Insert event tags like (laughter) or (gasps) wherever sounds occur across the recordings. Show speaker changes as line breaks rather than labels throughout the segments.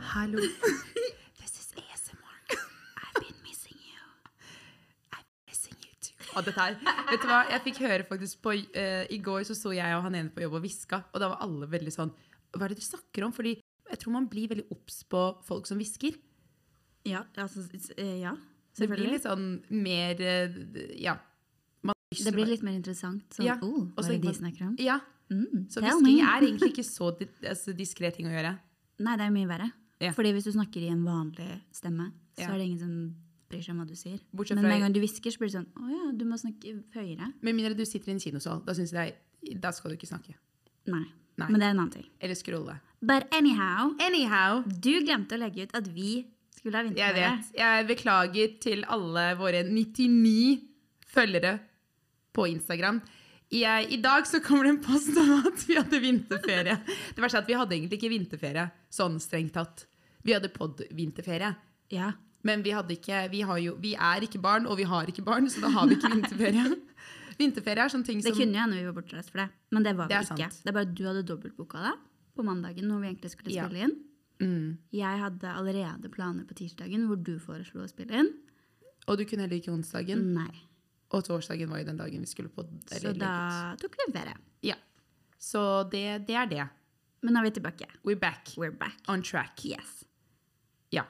Hallo. This is ASMR. I've been missing you. I'm missing you too. Og dette her. Vet du hva, jeg fikk høre faktisk på eh, I går så sto jeg og han ene på jobb og hviska, og da var alle veldig sånn Hva er det dere snakker om? Fordi jeg tror man blir veldig obs på folk som hvisker.
Ja, altså, s- eh, ja
Det blir
selvfølgelig.
litt sånn mer eh, Ja. Man
Det blir litt mer interessant. Sånn,
Ja,
oh,
og
hva
så
er det
kan-
de snakker om?
Ja.
Mm,
Så
tell
hvisking
me.
er egentlig ikke så di altså, diskré ting å gjøre.
Nei, det er mye verre.
Ja.
Fordi hvis du snakker i en vanlig stemme, så
Ja.
er det ingen som bryr seg om hva du sier.
Bortsett
Men
fra-
med en gang du hvisker, så blir det sånn Å ja, du må snakke høyere.
Med mindre du sitter i en kinosal. Da synes jeg da skal du ikke snakke.
Nei.
Nei.
Men det er en annen ting.
Eller scrolle.
But anyhow,
Anyhow.
du glemte å legge ut at vi skulle ha
Jeg
vinterføre.
vet. Jeg beklager til alle våre 99 følgere på Instagram. Jeg, I dag så kommer det en post om at vi hadde vinterferie. Det verste er at vi hadde egentlig ikke vinterferie, sånn strengt tatt. Vi hadde pod-vinterferie.
Ja.
Men vi, hadde ikke, vi, har jo, vi er ikke barn, og vi har ikke barn, så da har vi ikke vinterferie. Vinterferie er sånn ting
Det
som
kunne jo hende vi var bortreist for det, men det var vi
Det er
ikke.
sant.
Det er bare at du hadde dobbeltboka deg på mandagen når vi egentlig skulle
Ja.
spille inn.
mm.
Jeg hadde allerede planer på tirsdagen hvor du foreslo å spille inn.
Og du kunne heller ikke onsdagen.
Nei.
Og torsdagen var jo den dagen vi skulle på
Mm. Så
eller legge ut.
da tok vi ferie.
Ja. Så det, det er det.
Men nå er vi tilbake.
We're back.
We're back.
On track.
Yes.
Ja.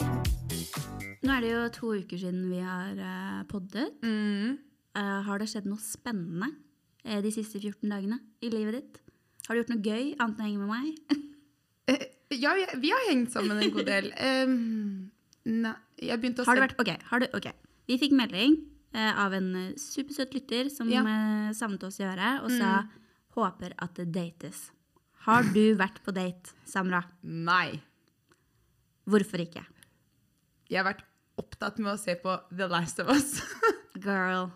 Nå er det jo to uker siden vi har eh, poddet.
Mm.
Eh, har det skjedd noe spennende eh, de siste 14 dagene i livet ditt? Har du gjort noe gøy annet enn å henge med meg?
Eh, ja, vi, vi har hengt sammen en god
(laughs)
del. Um, nei, jeg begynte å
Har du
se
vært, ok, har du, ok. Vi fikk melding eh, av en eh, supersøt lytter som
Ja.
eh, savnet oss i øret og sa håper at det dates. Har du vært på date, Samra?
Nei.
Hvorfor ikke?
Jeg har vært opptatt med å se på The Last of Us. (laughs)
Girl.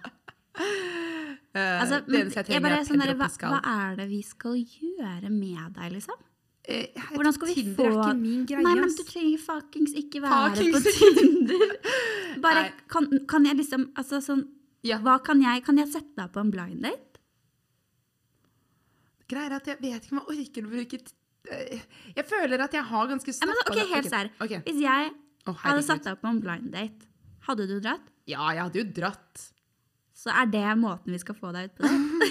Eh,
Altså,
det eneste
jeg
jeg trenger,
bare,
er
sånn
Pedro
der, hva,
Pascal.
hva er det vi skal gjøre med deg, liksom?
Eh, jeg-
Hvordan skal vi
Tinder
få-
er ikke min greie.
Nei, men
ass.
du trenger fuckings ikke være
Fuckings
på Tinder. (laughs) Bare,
Nei.
kan, kan jeg liksom altså sånn,
Ja.
Hva kan jeg Kan jeg sette deg på en blind date?
Greier er at jeg vet ikke om jeg orker å bruke t- eh, Jeg føler at jeg har ganske
Ja, men,
stappa
ok, helt sær.
Ok.
Hvis jeg
Å,
hadde
herregud.
satt deg på en blind date, hadde du dratt?
Ja, jeg hadde jo dratt. (laughs)
Så er det måten vi skal få deg ut på det.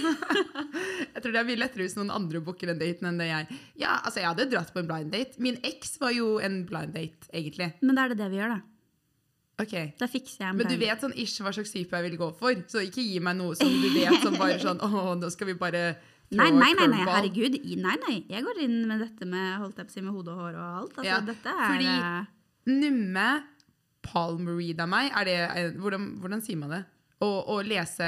Jeg tror det er mye lettere hvis noen andre booker en date enn det jeg Ja, altså, jeg hadde dratt på en blind date. Min eks var jo en blind date, egentlig.
Men da er det det vi gjør, da.
Ok.
Da fikser jeg en
Men du
blind date.
vet sånn ish hva slags type jeg vil gå for, så ikke gi meg noe som du vet som bare sånn (laughs) Å, nå skal vi bare throw
Nei,
a
nei, nei, nei,
curveball».
herregud. I- Nei, nei. Jeg går inn med dette med holdt jeg på å si, med hode og hår og alt. Altså,
Ja,
dette er
fordi-
eh,
Numme palmerida meg, er det eh, Hvordan, hvordan sier man det? Å, å lese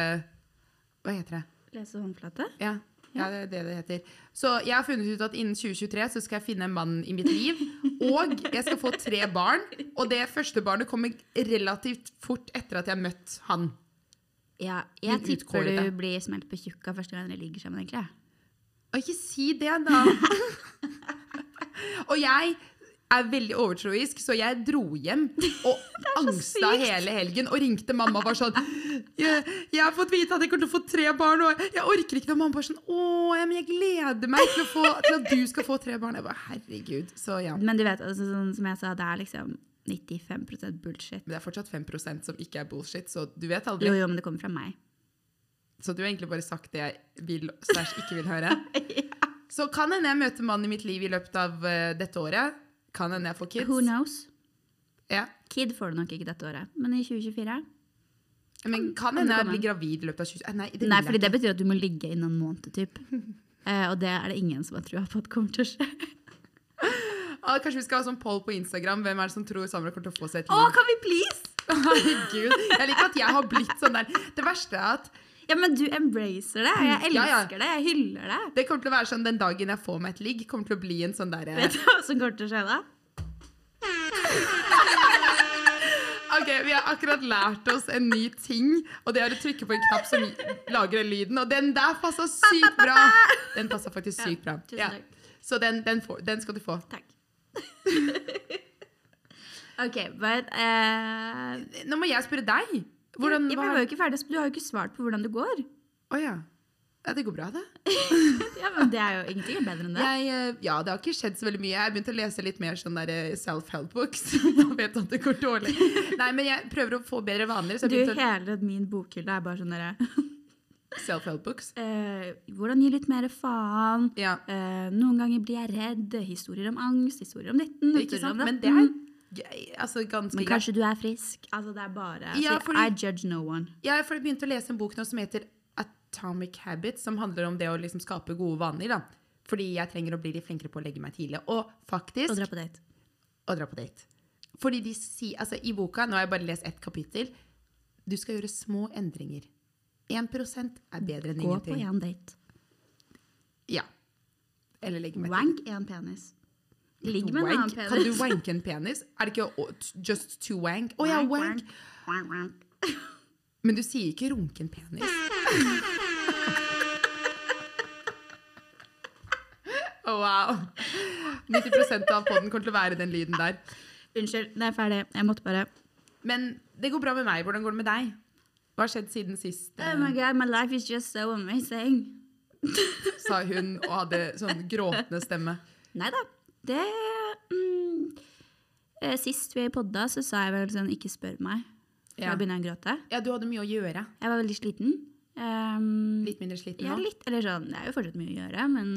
Hva heter det?
Lese håndflate.
Ja. ja, det er det det heter. Så jeg har funnet ut at innen 2023 så skal jeg finne en mann i mitt liv. Og jeg skal få tre barn. Og det første barnet kommer relativt fort etter at jeg har møtt han.
Ja, jeg
Litt
tipper du
utkårete.
blir smelt på tjukka første gang dere ligger sammen, egentlig.
Å, ikke si det,
(laughs)
da! og jeg er veldig overtroisk, så jeg dro
(laughs)
hjem og angsta
sykt.
hele helgen og ringte mamma og var
(laughs)
sånn jeg, 'Jeg har fått vite at jeg kommer til å få tre barn, og jeg orker ikke det.' Og mamma bare sånn 'Å, ja, men jeg gleder meg til, å få, til at du skal få tre barn.' Jeg bare 'Herregud'. Så ja.
Men du vet, altså, sånn som jeg sa, det er liksom 95 bullshit.
Men det er fortsatt 5 som ikke er bullshit, så du vet
Jo,
aldri.
jo, men det kommer fra meg.
Så du har egentlig bare sagt det jeg vil slash ikke vil
(laughs)
høre. Så kan hende jeg møter mannen i mitt liv i løpet av eh, dette året. Kan hende jeg får
Who
kids.
knows?
Ja.
Kid får du nok ikke dette året, men i 2024?
Men kan
Kan det
hende jeg
komme?
blir gravid i løpet av 20 Eh, Nei, det
Nei,
vil
fordi
jeg
det betyr at du må ligge innen en måned, typ. Eh, og det er det ingen som har trua på at kommer til å skje.
ikke. Ah, Kanskje vi skal ha sånn poll på Instagram. Hvem er det som tror Samra kommer til å få seg et
Å,
liv?
kan vi please?!
(laughs) Herregud. Jeg liker at jeg har blitt sånn der. Det verste er at
Ja, men du embracer det. Jeg elsker
Ja, ja.
det. Jeg hyller det.
det kommer til å være sånn den dagen jeg får meg et ligg, kommer til å bli en sånn derre
Vet du hva som kommer til å skje da?
Ok, Vi har akkurat lært oss en ny ting, og det er å trykke på en knapp som lager den lyden. Og den der passa sykt bra! Den passa faktisk sykt bra.
tusen
Ja.
takk.
Så den, den, får, den skal du få.
Takk. (laughs) OK, but eh,
Nå må jeg spørre deg. Hvordan
jeg, jeg
var
var jo ikke ferdig, så Du har jo ikke svart på hvordan det går.
Å ja. ja. Det går bra, det.
Ja, men det er jo ingenting er bedre enn det.
Jeg, eh, ja, det har ikke skjedd så veldig mye. Jeg har begynt å lese litt mer sånn der eh, self-help books. (laughs) Da vet jeg at det går dårlig. Nei, men jeg prøver å få bedre vaner. Så
Du,
jeg har begynt
hele min bokhylle er bare sånn derre
å self-help books.
eh, Hvordan gi litt mer faen?
Ja,
Eh, noen ganger blir jeg redd. Historier om angst, historier om ditten.
ikke
historier
sant?
om
Men det er
datten.
gøy, altså ganske
Men
greit.
kanskje du er frisk. Altså, det er bare
Ja,
så
fordi-
I judge no one.
Jeg har begynt å lese en bok nå som heter Atomic Habits, som handler om det å liksom skape gode vaner. da. Fordi jeg trenger å bli litt flinkere på å legge meg tidlig. Og faktisk
Og dra på date.
å dra på date. Fordi de sier, altså I boka nå har jeg bare lest ett kapittel. Du skal gjøre små endringer. 1 er bedre enn
Gå på
ingenting.
én date.
Ja. Eller legge meg
Wank én penis. Ligg med en
Wank?
annen
Kan du
penis.
wanke en penis? Er det ikke å- just to wank? Å ja, wank.
wank, wank.
Men du sier ikke runken (laughs) penis. Å, wow. 90 av podden kommer til å være den lyden der.
Unnskyld, det er ferdig. Jeg måtte bare
Men det går bra med meg. Hvordan går det med deg? Hva har skjedd siden sist? eh,
Oh my god, my life is just so amazing.
sa hun og hadde sånn gråtende stemme.
Nei da. Det mm, eh, Sist vi podda, så sa jeg vel sånn Ikke spør meg. For
Ja.
Da begynner jeg å gråte.
Ja, du hadde mye å gjøre.
Jeg var veldig sliten. Um,
Litt mindre sliten
ja,
nå.
litt. Eller sånn, det er jo fortsatt mye å gjøre, men,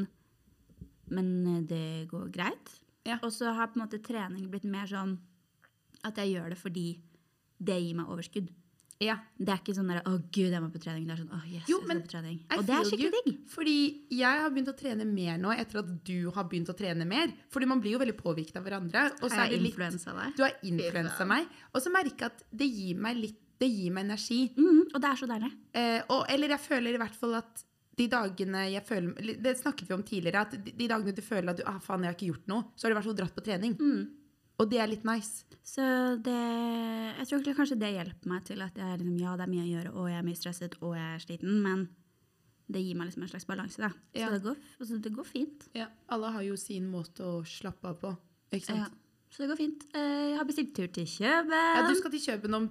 men eh, det går greit.
Ja.
Og så har på en måte trening blitt mer sånn at jeg gjør det fordi det gir meg overskudd.
Ja.
Det er ikke sånn der, 'Å, gud, jeg må på trening'. Det er sånn 'Å, yes,
Jo,
jeg
men
skal på trening'.
I
Og det er
feel you.
skikkelig digg.
Fordi jeg har begynt å trene mer nå etter at du har begynt å trene mer. Fordi man blir jo veldig påvirket av hverandre. Og så
Har
er det
jeg
litt
influensa der?
Du har influensa meg. Og så merker jeg at det gir meg litt Det gir meg energi.
Mm, og det er så deilig.
Eh, og, eller jeg føler i hvert fall at de dagene jeg føler eller Det snakket vi om tidligere. At de, de dagene du føler at du, ah, faen, jeg har ikke gjort noe, så har du i hvert fall dratt på trening. Og det er litt nice.
Så det Jeg tror egentlig kanskje det hjelper meg til at jeg er liksom, ja, det er mye å gjøre, og jeg er mye stresset, og jeg er sliten, men det gir meg liksom en slags balanse, da.
Ja.
Så det går, altså, det går fint.
Alle har jo sin måte å slappe av på. Ikke sant?
Ja. Så det går fint. Eh, Jeg har bestilt tur til
Ja.
Kjøben.
du skal til Kjøben om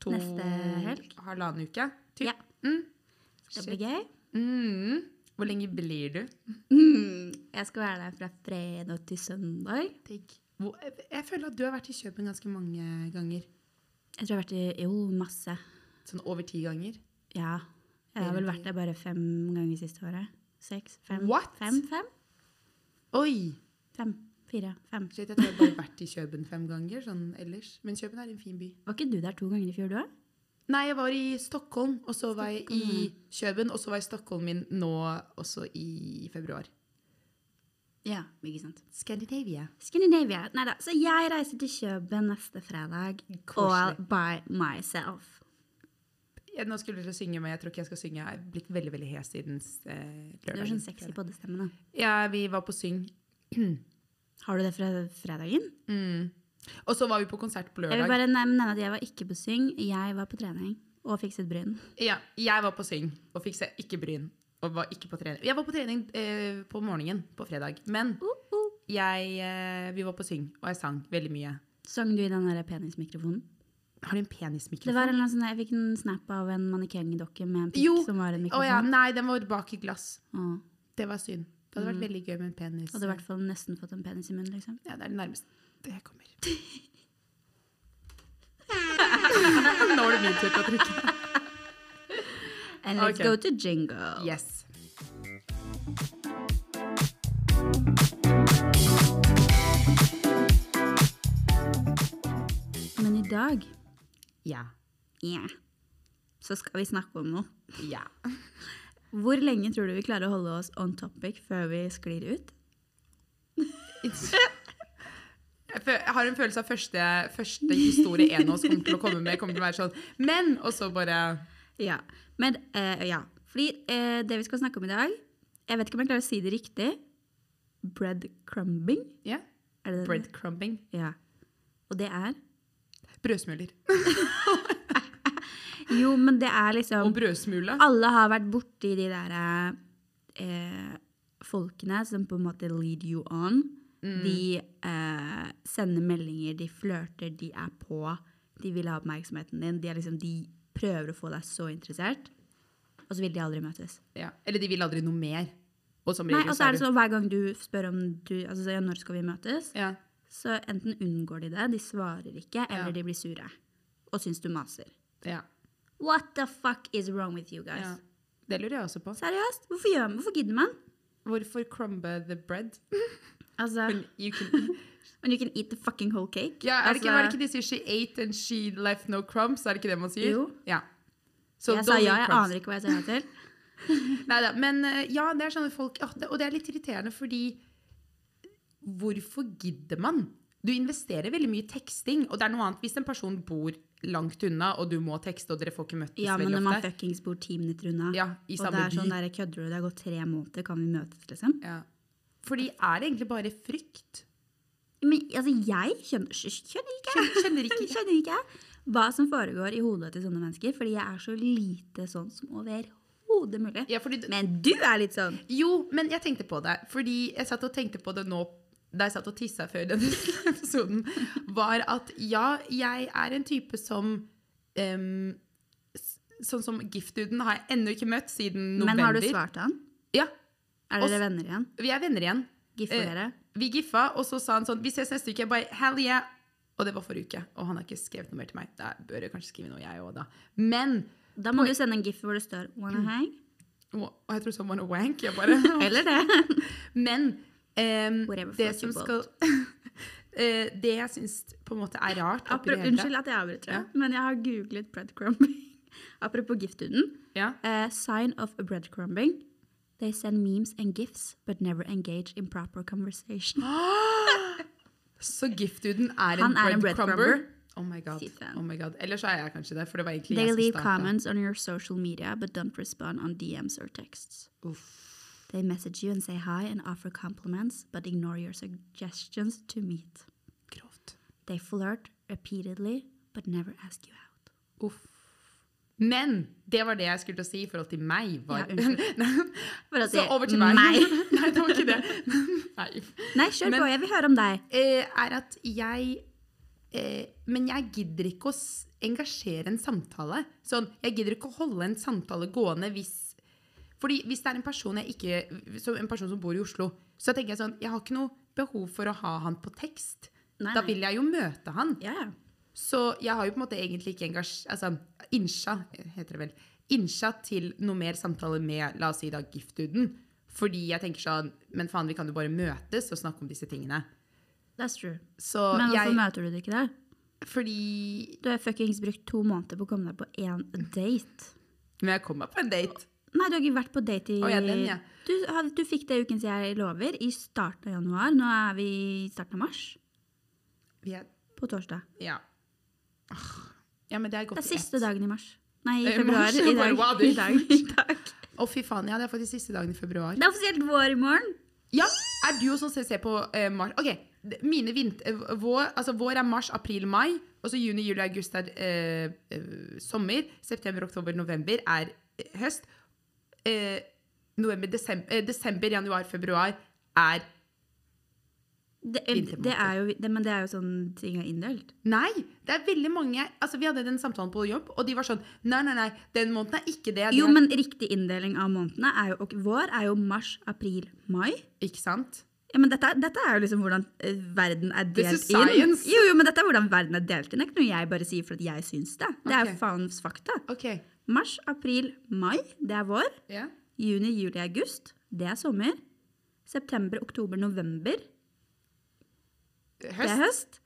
to
Neste helg.
Halvannen uke? typ.
Ja.
Mm.
Det blir gøy.
Mm. Hvor lenge blir du?
Mm. Jeg skal være der fra fredag til søndag.
Hvor- Jeg føler at du har vært i Kjøben ganske mange ganger.
Jeg tror jeg har vært i Jo, masse.
Sånn over ti ganger.
Ja. Jeg har vel vært der bare fem ganger siste året. Seks, fem,
What?
fem, fem,
Oi!
fem, fire, fem.
Shit, jeg tror jeg bare har vært i Kjøben fem ganger sånn ellers. Men Kjøben er en fin by.
Var ikke du der to ganger i fjor, du òg?
Nei, jeg var i Stockholm, og så var jeg i Kjøben, og så var jeg i Stockholm min nå også i februar.
Ja, ikke sant.
Scandinavia.
Scandinavia. Nei da. Så jeg reiser til Kjøben neste fredag. All
Koselig.
by myself.
Ja, nå skulle du til å synge, men jeg tror ikke jeg skal synge. Jeg er blitt veldig, veldig hes siden eh,
Du er
lørdag.
sånn sexy poddestemme, da.
Ja, vi var på syng.
Har du det fra fredagen?
Mm. Og så var vi på konsert på
Jeg vil
lørdag.
bare nevne at jeg var ikke på syng. Jeg var på trening og fikset bryn.
Ja, jeg var på syng og fikk se ikke bryn. Og var ikke på trening. Jeg var på trening eh, på morgenen på fredag, men
Uh -uh.
jeg, eh, vi var på syng, og jeg sang veldig mye.
Sang du i den der penismikrofonen?
Har du en
Det
penismikrofon?
var en eller annen sånn, Jeg fikk en snap av en mannekengdokke med en pikk
Jo.
som var en
Å
mikrofon.
ja, nei, den var bak i glass.
Å.
Det var synd. Det hadde vært
Mm.
veldig gøy med en penis.
Hadde i hvert fall nesten fått en penis i munnen, liksom.
Ja, det er det nærmeste jeg
(laughs)
kommer. Nå er det min tur til å trykke.
And let's
Ok.
go to jingle.
Yes.
Men i dag
Ja.
ja, så skal vi snakke om noe.
Ja.
Hvor lenge tror du vi klarer å holde oss on topic før vi sklir ut?
Jeg fø- jeg har en følelse av første, første historie en av oss kommer til å komme med, kommer til å være sånn Men! Og så bare
Ja. Men, eh, ja. Fordi eh, det vi skal snakke om i dag Jeg vet ikke om jeg klarer å si det riktig. Breadcrumbing.
Ja.
Er det det?
Breadcrumbing.
Ja. Og det er
Brødsmuler.
Jo, men det er
Og
liksom
brødsmule.
Alle har vært borti de der eh, folkene som på en måte lead you on.
Mm.
De eh, sender meldinger, de flørter, de er på. De vil ha oppmerksomheten din. De er liksom de prøver å få deg så interessert, og så vil de aldri møtes.
Ja. Eller de vil aldri noe mer. Og som
Nei,
regel
og så er det sånn hver gang du spør om du, altså, ja, når skal vi møtes,
Ja.
så enten unngår de det, de svarer ikke, eller
Ja.
de blir sure og syns du maser.
Ja.
What the fuck is wrong with you guys?
ja. Det lurer jeg også på.
Seriøst? Hvorfor, gjør man, hvorfor gidder man?
Hvorfor crumbe the bread?
Altså,
You can
when you can eat the fucking whole cake.
(laughs) Ja, er det
Altså,
ikke, var det ikke de sier 'she ate and she left no crumbs'? Er det ikke det man sier?
Jo.
Ja. Så
jeg sa
don't
ja,
eat
jeg
crumbs.
aner ikke hva jeg sa
(laughs)
ja til.
Neida, men eh, ja, det er sånne folk ja, det, Og det er litt irriterende fordi Hvorfor gidder man? Du investerer veldig mye i teksting, og det er noe annet hvis en person bor langt unna, og du må tekste, og dere får ikke møttes
Ja, men
veldig
når man
ofte.
fuckings bor ti minutter unna,
Ja, i
og
samme
det er
by.
sånn der, kødder du, det har gått tre måneder, kan vi møtes, liksom?
Ja. Fordi er det egentlig bare frykt?
Men altså, jeg skjønner, skjønner ikke, (laughs)
Kjenner ikke
skjønner ikke hva som foregår i hodet til sånne mennesker, fordi jeg er så lite sånn som overhodet mulig.
Ja, fordi
Men du er litt sånn.
Jo, men jeg tenkte på det. Fordi jeg satt og tenkte på det nå da jeg satt og tissa før denne (laughs) episoden, var at ja, jeg er en type som em, s- Sånn som giftduden har jeg ennå ikke møtt siden november.
Men har du svart han?
Ja.
Er
Og s-
dere venner igjen?
Vi er venner igjen.
Giffer
Eh,
dere?
Vi giffa, og så sa han sånn Vi ses neste uke. Jeg bare Hell yeah! Og det var forrige uke. Og han har ikke skrevet noe mer til meg. Da bør jeg kanskje skrive noe, jeg òg, da. Men
Da må du sende en gif hvor det står 'wanna
Mm.
hang'.
Og jeg tror sånn var noe wank. Jeg bare
(laughs) Eller det.
(laughs) Men ehm,
Whatever
det
floats
som
your
skal (laughs) Eh, Det jeg syns på en måte er rart oppi
Apro
det hele,
Unnskyld at jeg avbryter, deg, men jeg har googlet breadcrumbing. (laughs) Apropos giftduden.
Ja.
Eh, sign of a breadcrumbing. They send memes and gifts, but never engage in proper
(gasps)
conversation.
Så giftduden er en
Han er en
breadcrumber?
breadcrumber.
Oh my god.
Fy faen.
Oh my god. Eller så er jeg kanskje det, for det var egentlig
They
jeg
leave
som starta.
comments on your social media, but don't respond on DMs or texts. They message you and say hi and offer compliments, but ignore your suggestions to meet.
Grovt.
They flirt repeatedly, but never ask you out.
Uff. Men det var det jeg skulle til å si i forhold til meg. Var.
Ja,
(laughs)
unnskyld. For å si
så over til meg.
meg.
(laughs) Nei, det var ikke det. (laughs) Nei.
Nei, kjør
(laughs) Men-
på, jeg vil høre om deg.
eh, er at jeg eh, Men jeg gidder ikke å s- engasjere en samtale. Sånn, jeg gidder ikke å holde en samtale gående hvis fordi hvis det er en person, jeg ikke, som, en person som bor i Oslo, så tenker jeg sånn Jeg har ikke noe behov for å ha han på tekst.
Nei,
da
nei.
vil jeg jo møte han.
Ja, ja.
Så jeg har jo på en måte egentlig ikke engasj... Altså, innsja, heter det vel. Innsja til noe mer samtale med, la oss si da, giftduden. Fordi jeg tenker sånn Men faen, vi kan jo bare møtes og snakke om disse tingene.
That's true.
Så
Men altså, hvorfor
jeg
møter du det ikke da?
Fordi
Du har fuckings brukt to måneder på å komme deg på én date.
Men jeg kom meg på en date.
Nei, du har ikke vært på date i
Å, ja, den, ja.
du, har- du fikk det ukens jeg lover i starten av januar. Nå er vi i starten av mars.
Vi er,
På torsdag.
ja. Ah, ja, men det er
Det
godt
er siste dagen i mars. Nei, i
Eh,
februar.
mars,
I
bare,
dag.
(laughs) wow, det
I
gikk
dag. I dag.
Å, fy faen. Ja, det er faktisk siste dagen i februar.
Det er offisielt vår i morgen.
Ja, Er du også sånn ser på eh, mars OK. d- Mine vint... eh, Vår, altså, vår er mars, april, mai. Og så juni, juli, august er eh, eh, sommer. September, oktober, november er eh, høst. Eh, november, desember, eh, desember, januar, februar er
Det,
Vintermåned.
det er jo, det, men det er jo sånn ting er inndelt.
Nei, det er veldig mange Altså, Vi hadde den samtalen på jobb, og de var sånn Nei, nei, nei, den måneden er ikke det. den
Jo,
er-
men riktig inndeling av månedene er jo og Vår er jo mars, april, mai.
Ikke sant?
Ja, men dette, er- dette er jo liksom hvordan eh, verden er
This
delt
is science.
inn. Jo, jo, men dette er hvordan verden er delt inn. Det er ikke noe jeg bare sier fordi jeg syns det. Det er
Ok.
jo faens fakta.
Ok.
Mars, april, mai, det er vår.
Ja.
Juni, juli, august, det er sommer. September, oktober, november, det er
Høst.
høst.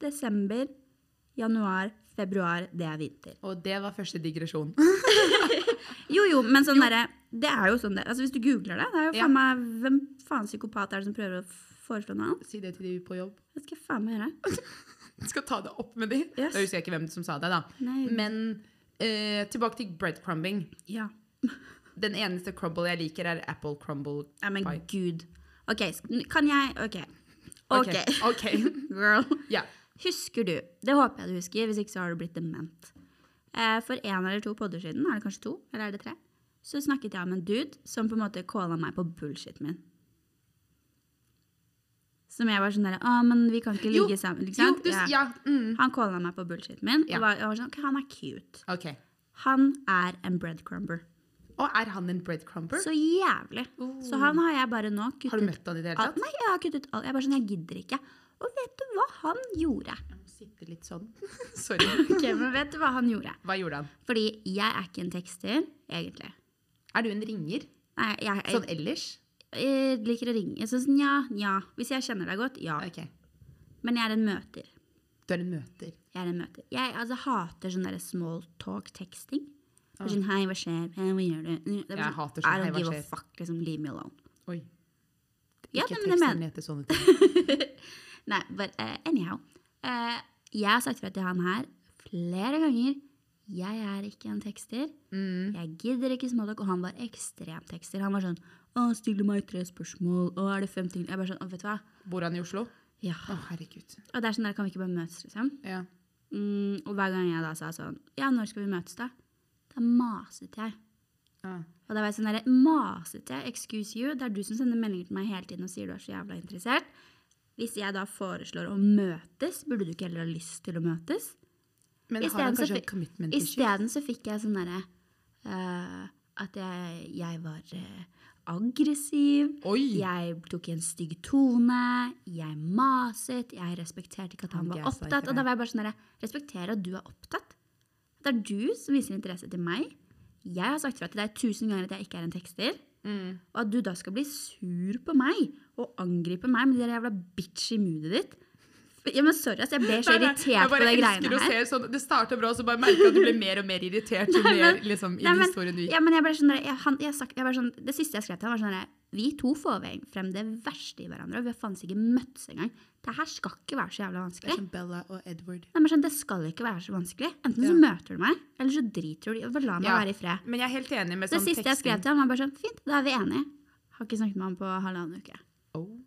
Desember, januar, februar, det er vinter.
Og det var
(laughs)
første digresjon.
Jo, jo, men sånn derre Det er jo sånn det Altså, hvis du googler det, det er jo
Ja.
faen meg Hvem faen psykopat er det som prøver å f- foreslå noe annet?
Si det til de på jobb.
Det skal jeg faen meg gjøre.
Skal ta det opp med de.
Yes.
Da husker jeg ikke hvem som sa det, da.
Nei.
Men eh, tilbake til breadcrumbing.
Ja.
Den eneste crumble jeg liker, er apple crumble
Nei, men
pie.
gud. OK, sk- kan jeg OK. OK,
Ok, (laughs) ok.
(laughs) girl.
Ja.
Husker du, det håper jeg du husker, hvis ikke så har du blitt dement. Eh, For én eller to podder siden, er det kanskje to, eller er det tre, så snakket jeg om en dude som på en måte calla meg på bullshiten min. Som jeg var sånn derre Å, men vi kan ikke
Jo,
ligge sammen. Ikke
Jo,
sant?
du s-
Ja.
Ja. Mm.
Han calla meg på bullshiten min.
Ja.
Og var, jeg var sånn, ok, han er cute.
OK.
Han er en breadcrumber.
Og er han en breadcrumber?
Så jævlig. Så han har jeg bare nå kuttet
Har du møtt han i det hele
alt-
tatt?
Nei, jeg har kuttet alt. Jeg er bare sånn, jeg gidder ikke. Og vet du hva han gjorde?
Jeg må sitte litt sånn. (laughs) Sorry.
(laughs) Ok, men vet du hva han gjorde?
Hva gjorde han?
Fordi jeg er ikke en tekster, egentlig.
Er du en ringer?
Nei, jeg, jeg,
Sånn ellers?
jeg liker å ringe. Jeg sånn, synes, nja, nja. Hvis jeg kjenner deg godt, ja.
Ok.
Men jeg er en møter.
Du er en møter.
Jeg er en møter. Jeg altså, hater sånn derre small talk-teksting. Det er Sånn, hei, hva skjer? Hei, hva gjør du? Det er bare
Jeg
sånn,
hater
I
sånn, hei,
don't
hva
give a
skjer?
fuck, liksom, leave me alone.
Oi.
Ja,
Ikke
nei, men jeg
teksten
mener-
heter sånne ting.
Nei, but eh, anyhow. Eh, jeg har sagt fra til han her flere ganger. Jeg er ikke en tekster.
Mm.
Jeg gidder ikke småtalk. Og han var ekstrem tekster. Han var sånn å, stille meg tre spørsmål. Å, er det fem ting? Jeg bare sånn, å, vet du hva?
Bor han i Oslo?
Ja.
Å, herregud.
Og det er sånn der, kan vi ikke bare møtes, liksom?
Ja.
Mm, og hver gang jeg da sa sånn, ja, når skal vi møtes da? Da maset jeg.
Ja.
Og da var jeg sånn der, maset jeg, excuse you, det er du som sender meldinger til meg hele tiden og sier du er så jævla interessert. Hvis jeg da foreslår å møtes, burde du ikke heller ha lyst til å møtes?
Men
I
har
stedet
han
så
kanskje
fi-
en commitment
I
issue?
stedet så fikk jeg sånn derre eh, At jeg, jeg var eh, aggressiv.
Oi!
Jeg tok en stygg tone. Jeg maset. Jeg respekterte ikke at han
Han
var
gasa ikke
opptatt. Og
det.
da var jeg bare sånn derre Respektere at du er opptatt. Det er du som viser interesse til meg. Jeg har sagt fra til deg tusen ganger at jeg ikke er en tekster.
Mm.
Og at du da skal bli sur på meg og angripe meg med det der jævla bitch i moodet ditt. Ja, men sorry, ass. Jeg ble så
Nei, nei,
irritert på de
Jeg bare
greiene
elsker å
her.
se sånn, det starter bra, og så bare merker jeg at du blir mer og mer irritert jo
Nei,
mer
men-
liksom, i
Nei, men-
historien du gikk.
Ja, men jeg ble sånn der, jeg, han, jeg, sagt, jeg ble sånn, Det siste jeg skrev til han var sånn der, Vi to får ve- frem det verste i hverandre, og vi har faen ikke møttes engang. Det her skal ikke være så jævla
Det er
vanskelig.
som Bella og Edward.
Nei, men sånn, Det skal ikke være så vanskelig. Enten så
Ja.
møter du meg, eller så driter du i Bare la meg
Ja.
være i fred.
Men jeg er helt enig med
Det
sånn
siste jeg skrev til han var bare sånn Fint, da er vi enige. Har ikke snakket med han på halvannen uke.
Oh.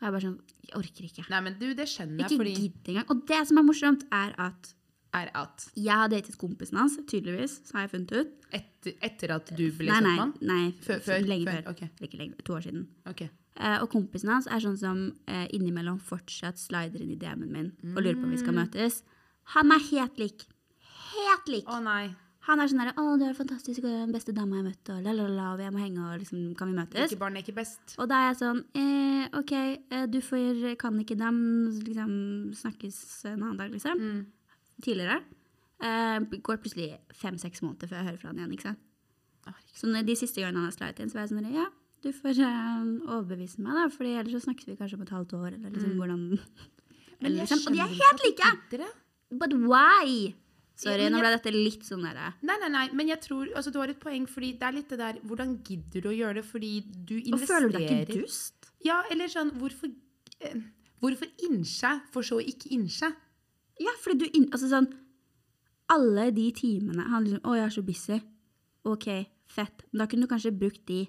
Og jeg bare sånn Jeg orker ikke.
Nei, men du, det skjønner jeg,
Ikke
fordi
gidd engang. Og det som er morsomt, er at
er at
jeg har datet kompisen hans, tydeligvis, så har jeg funnet ut.
etter, etter at du ble
Nei,
sånn
nei,
mann?
nei
Før- før-
lenge
før,
før.
ok.
Eller Ikke lenge, to år siden.
Ok.
Eh, og kompisen hans er sånn som eh, innimellom fortsatt slider inn i DM-en min og lurer på om vi skal møtes. Han er helt lik. Helt lik!
Å nei.
Han er sånn derre 'Å, du er fantastisk, og du er den beste dama jeg har møtt', og la-la-la, og jeg må henge, og liksom, kan vi møtes?
Ikke barn er ikke best.
Og da er jeg sånn eh, 'OK, eh, du får, kan ikke dem, liksom, snakkes en annen dag', liksom.
Mm.
Tidligere. Eh, går plutselig fem-seks måneder før jeg hører fra han igjen, ikke sant.
Å, herregud.
Så når de siste gangene han har slidet inn, så var jeg sånn Ja, du får eh, overbevise meg, da, for ellers så snakkes vi kanskje om et halvt år, eller liksom
Mm.
hvordan
Men
eller
jeg
liksom, Og de
skjønner
er
ikke
helt
at du
like!
gidder det.
But why? Sorry,
Ja, men
nå
jeg-
ble dette litt sånn derre
Nei, nei, nei, men jeg tror altså, du har et poeng, fordi det er litt det der Hvordan gidder du å gjøre det? Fordi du
Og
investerer
føler du deg ikke dust?
Ja, eller sånn Hvorfor, eh, hvorfor innskje, for så å ikke innskje?
Ja, fordi du inn... Altså sånn Alle de timene han liksom Å, jeg er så busy. OK, fett. Men da kunne du kanskje brukt de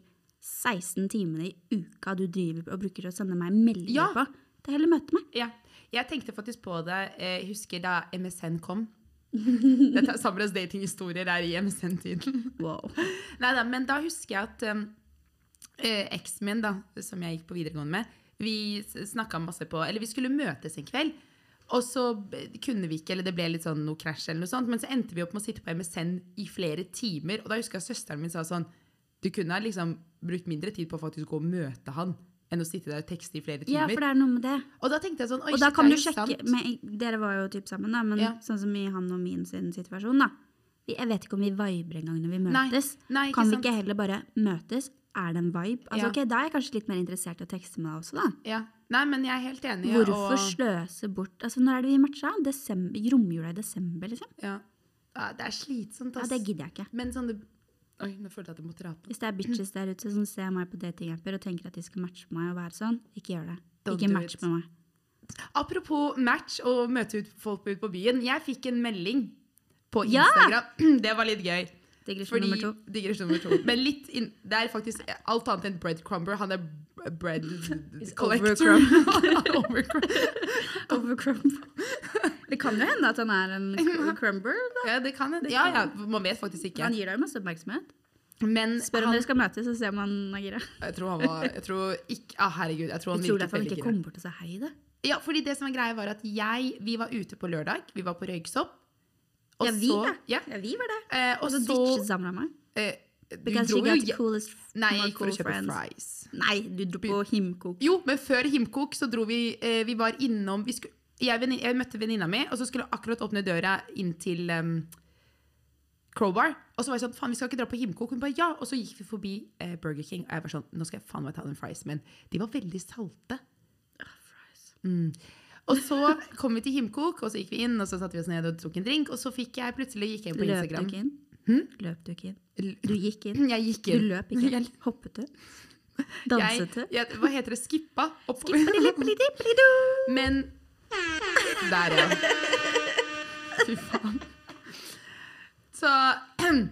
16 timene i uka du driver og bruker til å sende meg meldinger
Ja.
på, til heller møte meg.
Ja. Jeg tenkte faktisk på det. Jeg husker da MSN (laughs) kom. Dette er Sabras datinghistorier er i MSN-tiden.
Wow.
Neida, men da husker jeg at um, eh, eksen min, da, som jeg gikk på videregående med, vi snakka masse på Eller vi skulle møtes en kveld. Og så b- kunne vi ikke, eller det ble litt sånn noe krasj, eller noe sånt, men så endte vi opp med å sitte på MSN i flere timer. Og da husker jeg søsteren min sa sånn Du kunne ha liksom brukt mindre tid på å faktisk gå og møte han enn å sitte der og tekste i flere
Ja,
timer.
for det er noe med det.
og da tenkte jeg sånn Oi,
Og da
shit,
kan du
det er jo
sjekke
sant.
med, Dere var jo typ sammen, da, men
Ja.
sånn som i han og min sin situasjon, da. Vi- Jeg vet ikke om vi viber engang når vi
Nei,
møtes.
nei, ikke
kan vi
sant.
ikke heller bare møtes? Er det en vibe? Altså,
Ja.
ok, Da er jeg kanskje litt mer interessert i å tekste med deg også, da.
Ja. Nei, men jeg er helt enig.
Hvorfor
og-
sløse bort Altså, Når er det vi matcha? Desember- Romjula i desember, liksom?
ja. ja, Det er slitsomt,
Ja,
ass.
Det gidder jeg ikke.
Men sånn det Oi, nå følte jeg at jeg måtte rape.
Hvis det er bitches der ute som ser meg på datingapper og tenker at de skal matche meg og være sånn, ikke gjør det.
Don't
ikke
do
match
it.
med meg.
Apropos match og møte ut folk ut på byen. Jeg fikk en melding på
Ja!
Instagram. (clears throat) Det var litt gøy.
Digresjon
Fordi, (laughs)
nummer to.
digresjon nummer
(laughs)
to. Men litt inn, det er faktisk alt annet enn breadcrumber. Han er b- bread collector. (laughs) Overcrumb.
Overcrumb. Det kan jo hende at han er
(laughs)
en crumber. da.
ja, det kan hende. Ja, ja, man vet faktisk ikke.
Han gir deg masse oppmerksomhet.
Men
Spør om
han,
dere skal møtes, så ser man han agerer.
jeg tror han var jeg tror ikke, ah, Herregud, jeg tror han
Jeg tror det er
virket
at han
veldig
ikke
gira.
kommer bort og sier hei, da.
Ja, fordi det som er greia var at jeg, vi var ute på lørdag, vi var på Røyksopp, Og
ja, vi,
så,
da.
Ja.
Ja, Altså, vi var det.
Eh, og
Og så
så
ditchet Samra meg.
eh, Du
Because she
dro jo
got the
hjem-
coolest
Nei,
more
jeg gikk for å
cool
kjøpe
friends.
fries.
Nei, du dro på Himkok.
Jo, men før Himkok så dro vi eh, Vi var innom vi skulle, jeg, vennin- jeg møtte venninna mi, og så skulle hun akkurat åpne døra inn til em, Crowbar. Og så var jeg sånn Faen, vi skal ikke dra på Himkok. Hun bare ja. Og så gikk vi forbi eh, Burger King, og jeg var sånn Nå skal jeg faen meg ta den friesen min. De var veldig salte. Mm. Og så kom vi til Himkok, og så gikk vi inn, og så satte vi oss ned og tok en drink, og så fikk jeg plutselig gikk jeg inn på
Løp du
Instagram.
ikke inn? Løp du ikke inn? Du gikk inn?
Jeg gikk
Du
inn.
løp Hm? ikke?
Jeg-
Hoppet (laughs) du?
(laughs) Jeg,
Danset du?
jeg, hva heter det? Skippa? Opp.
Skippelidippelidu!
Men Der, ja. Fy faen. Så (clears throat)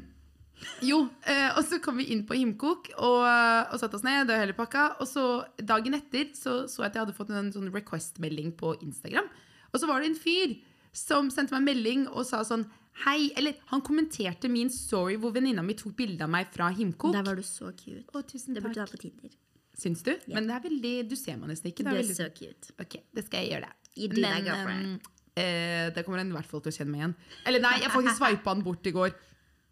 Jo, eh, og så kom vi inn på Himkok og, og satte oss ned. Og hele pakka Og så dagen etter så, så jeg at jeg hadde fått en sånn request-melding på Instagram. Og så var det en fyr som sendte meg en melding og sa sånn Hei, eller han kommenterte min story hvor venninna mi tok bilde av meg fra Himkok.
Der var du så cute.
Å, tusen
Det burde du ha
takk.
på Tinder.
Syns du? Men det er veldig, du ser meg nesten ikke.
Du
Det
er
er veldig,
så cute.
Ok, det skal jeg gjøre. det.
You do that, girlfriend.
ehm, eh, da kommer han i hvert fall til å kjenne meg igjen. Eller nei, jeg
(laughs)
faktisk sveipa han bort i går.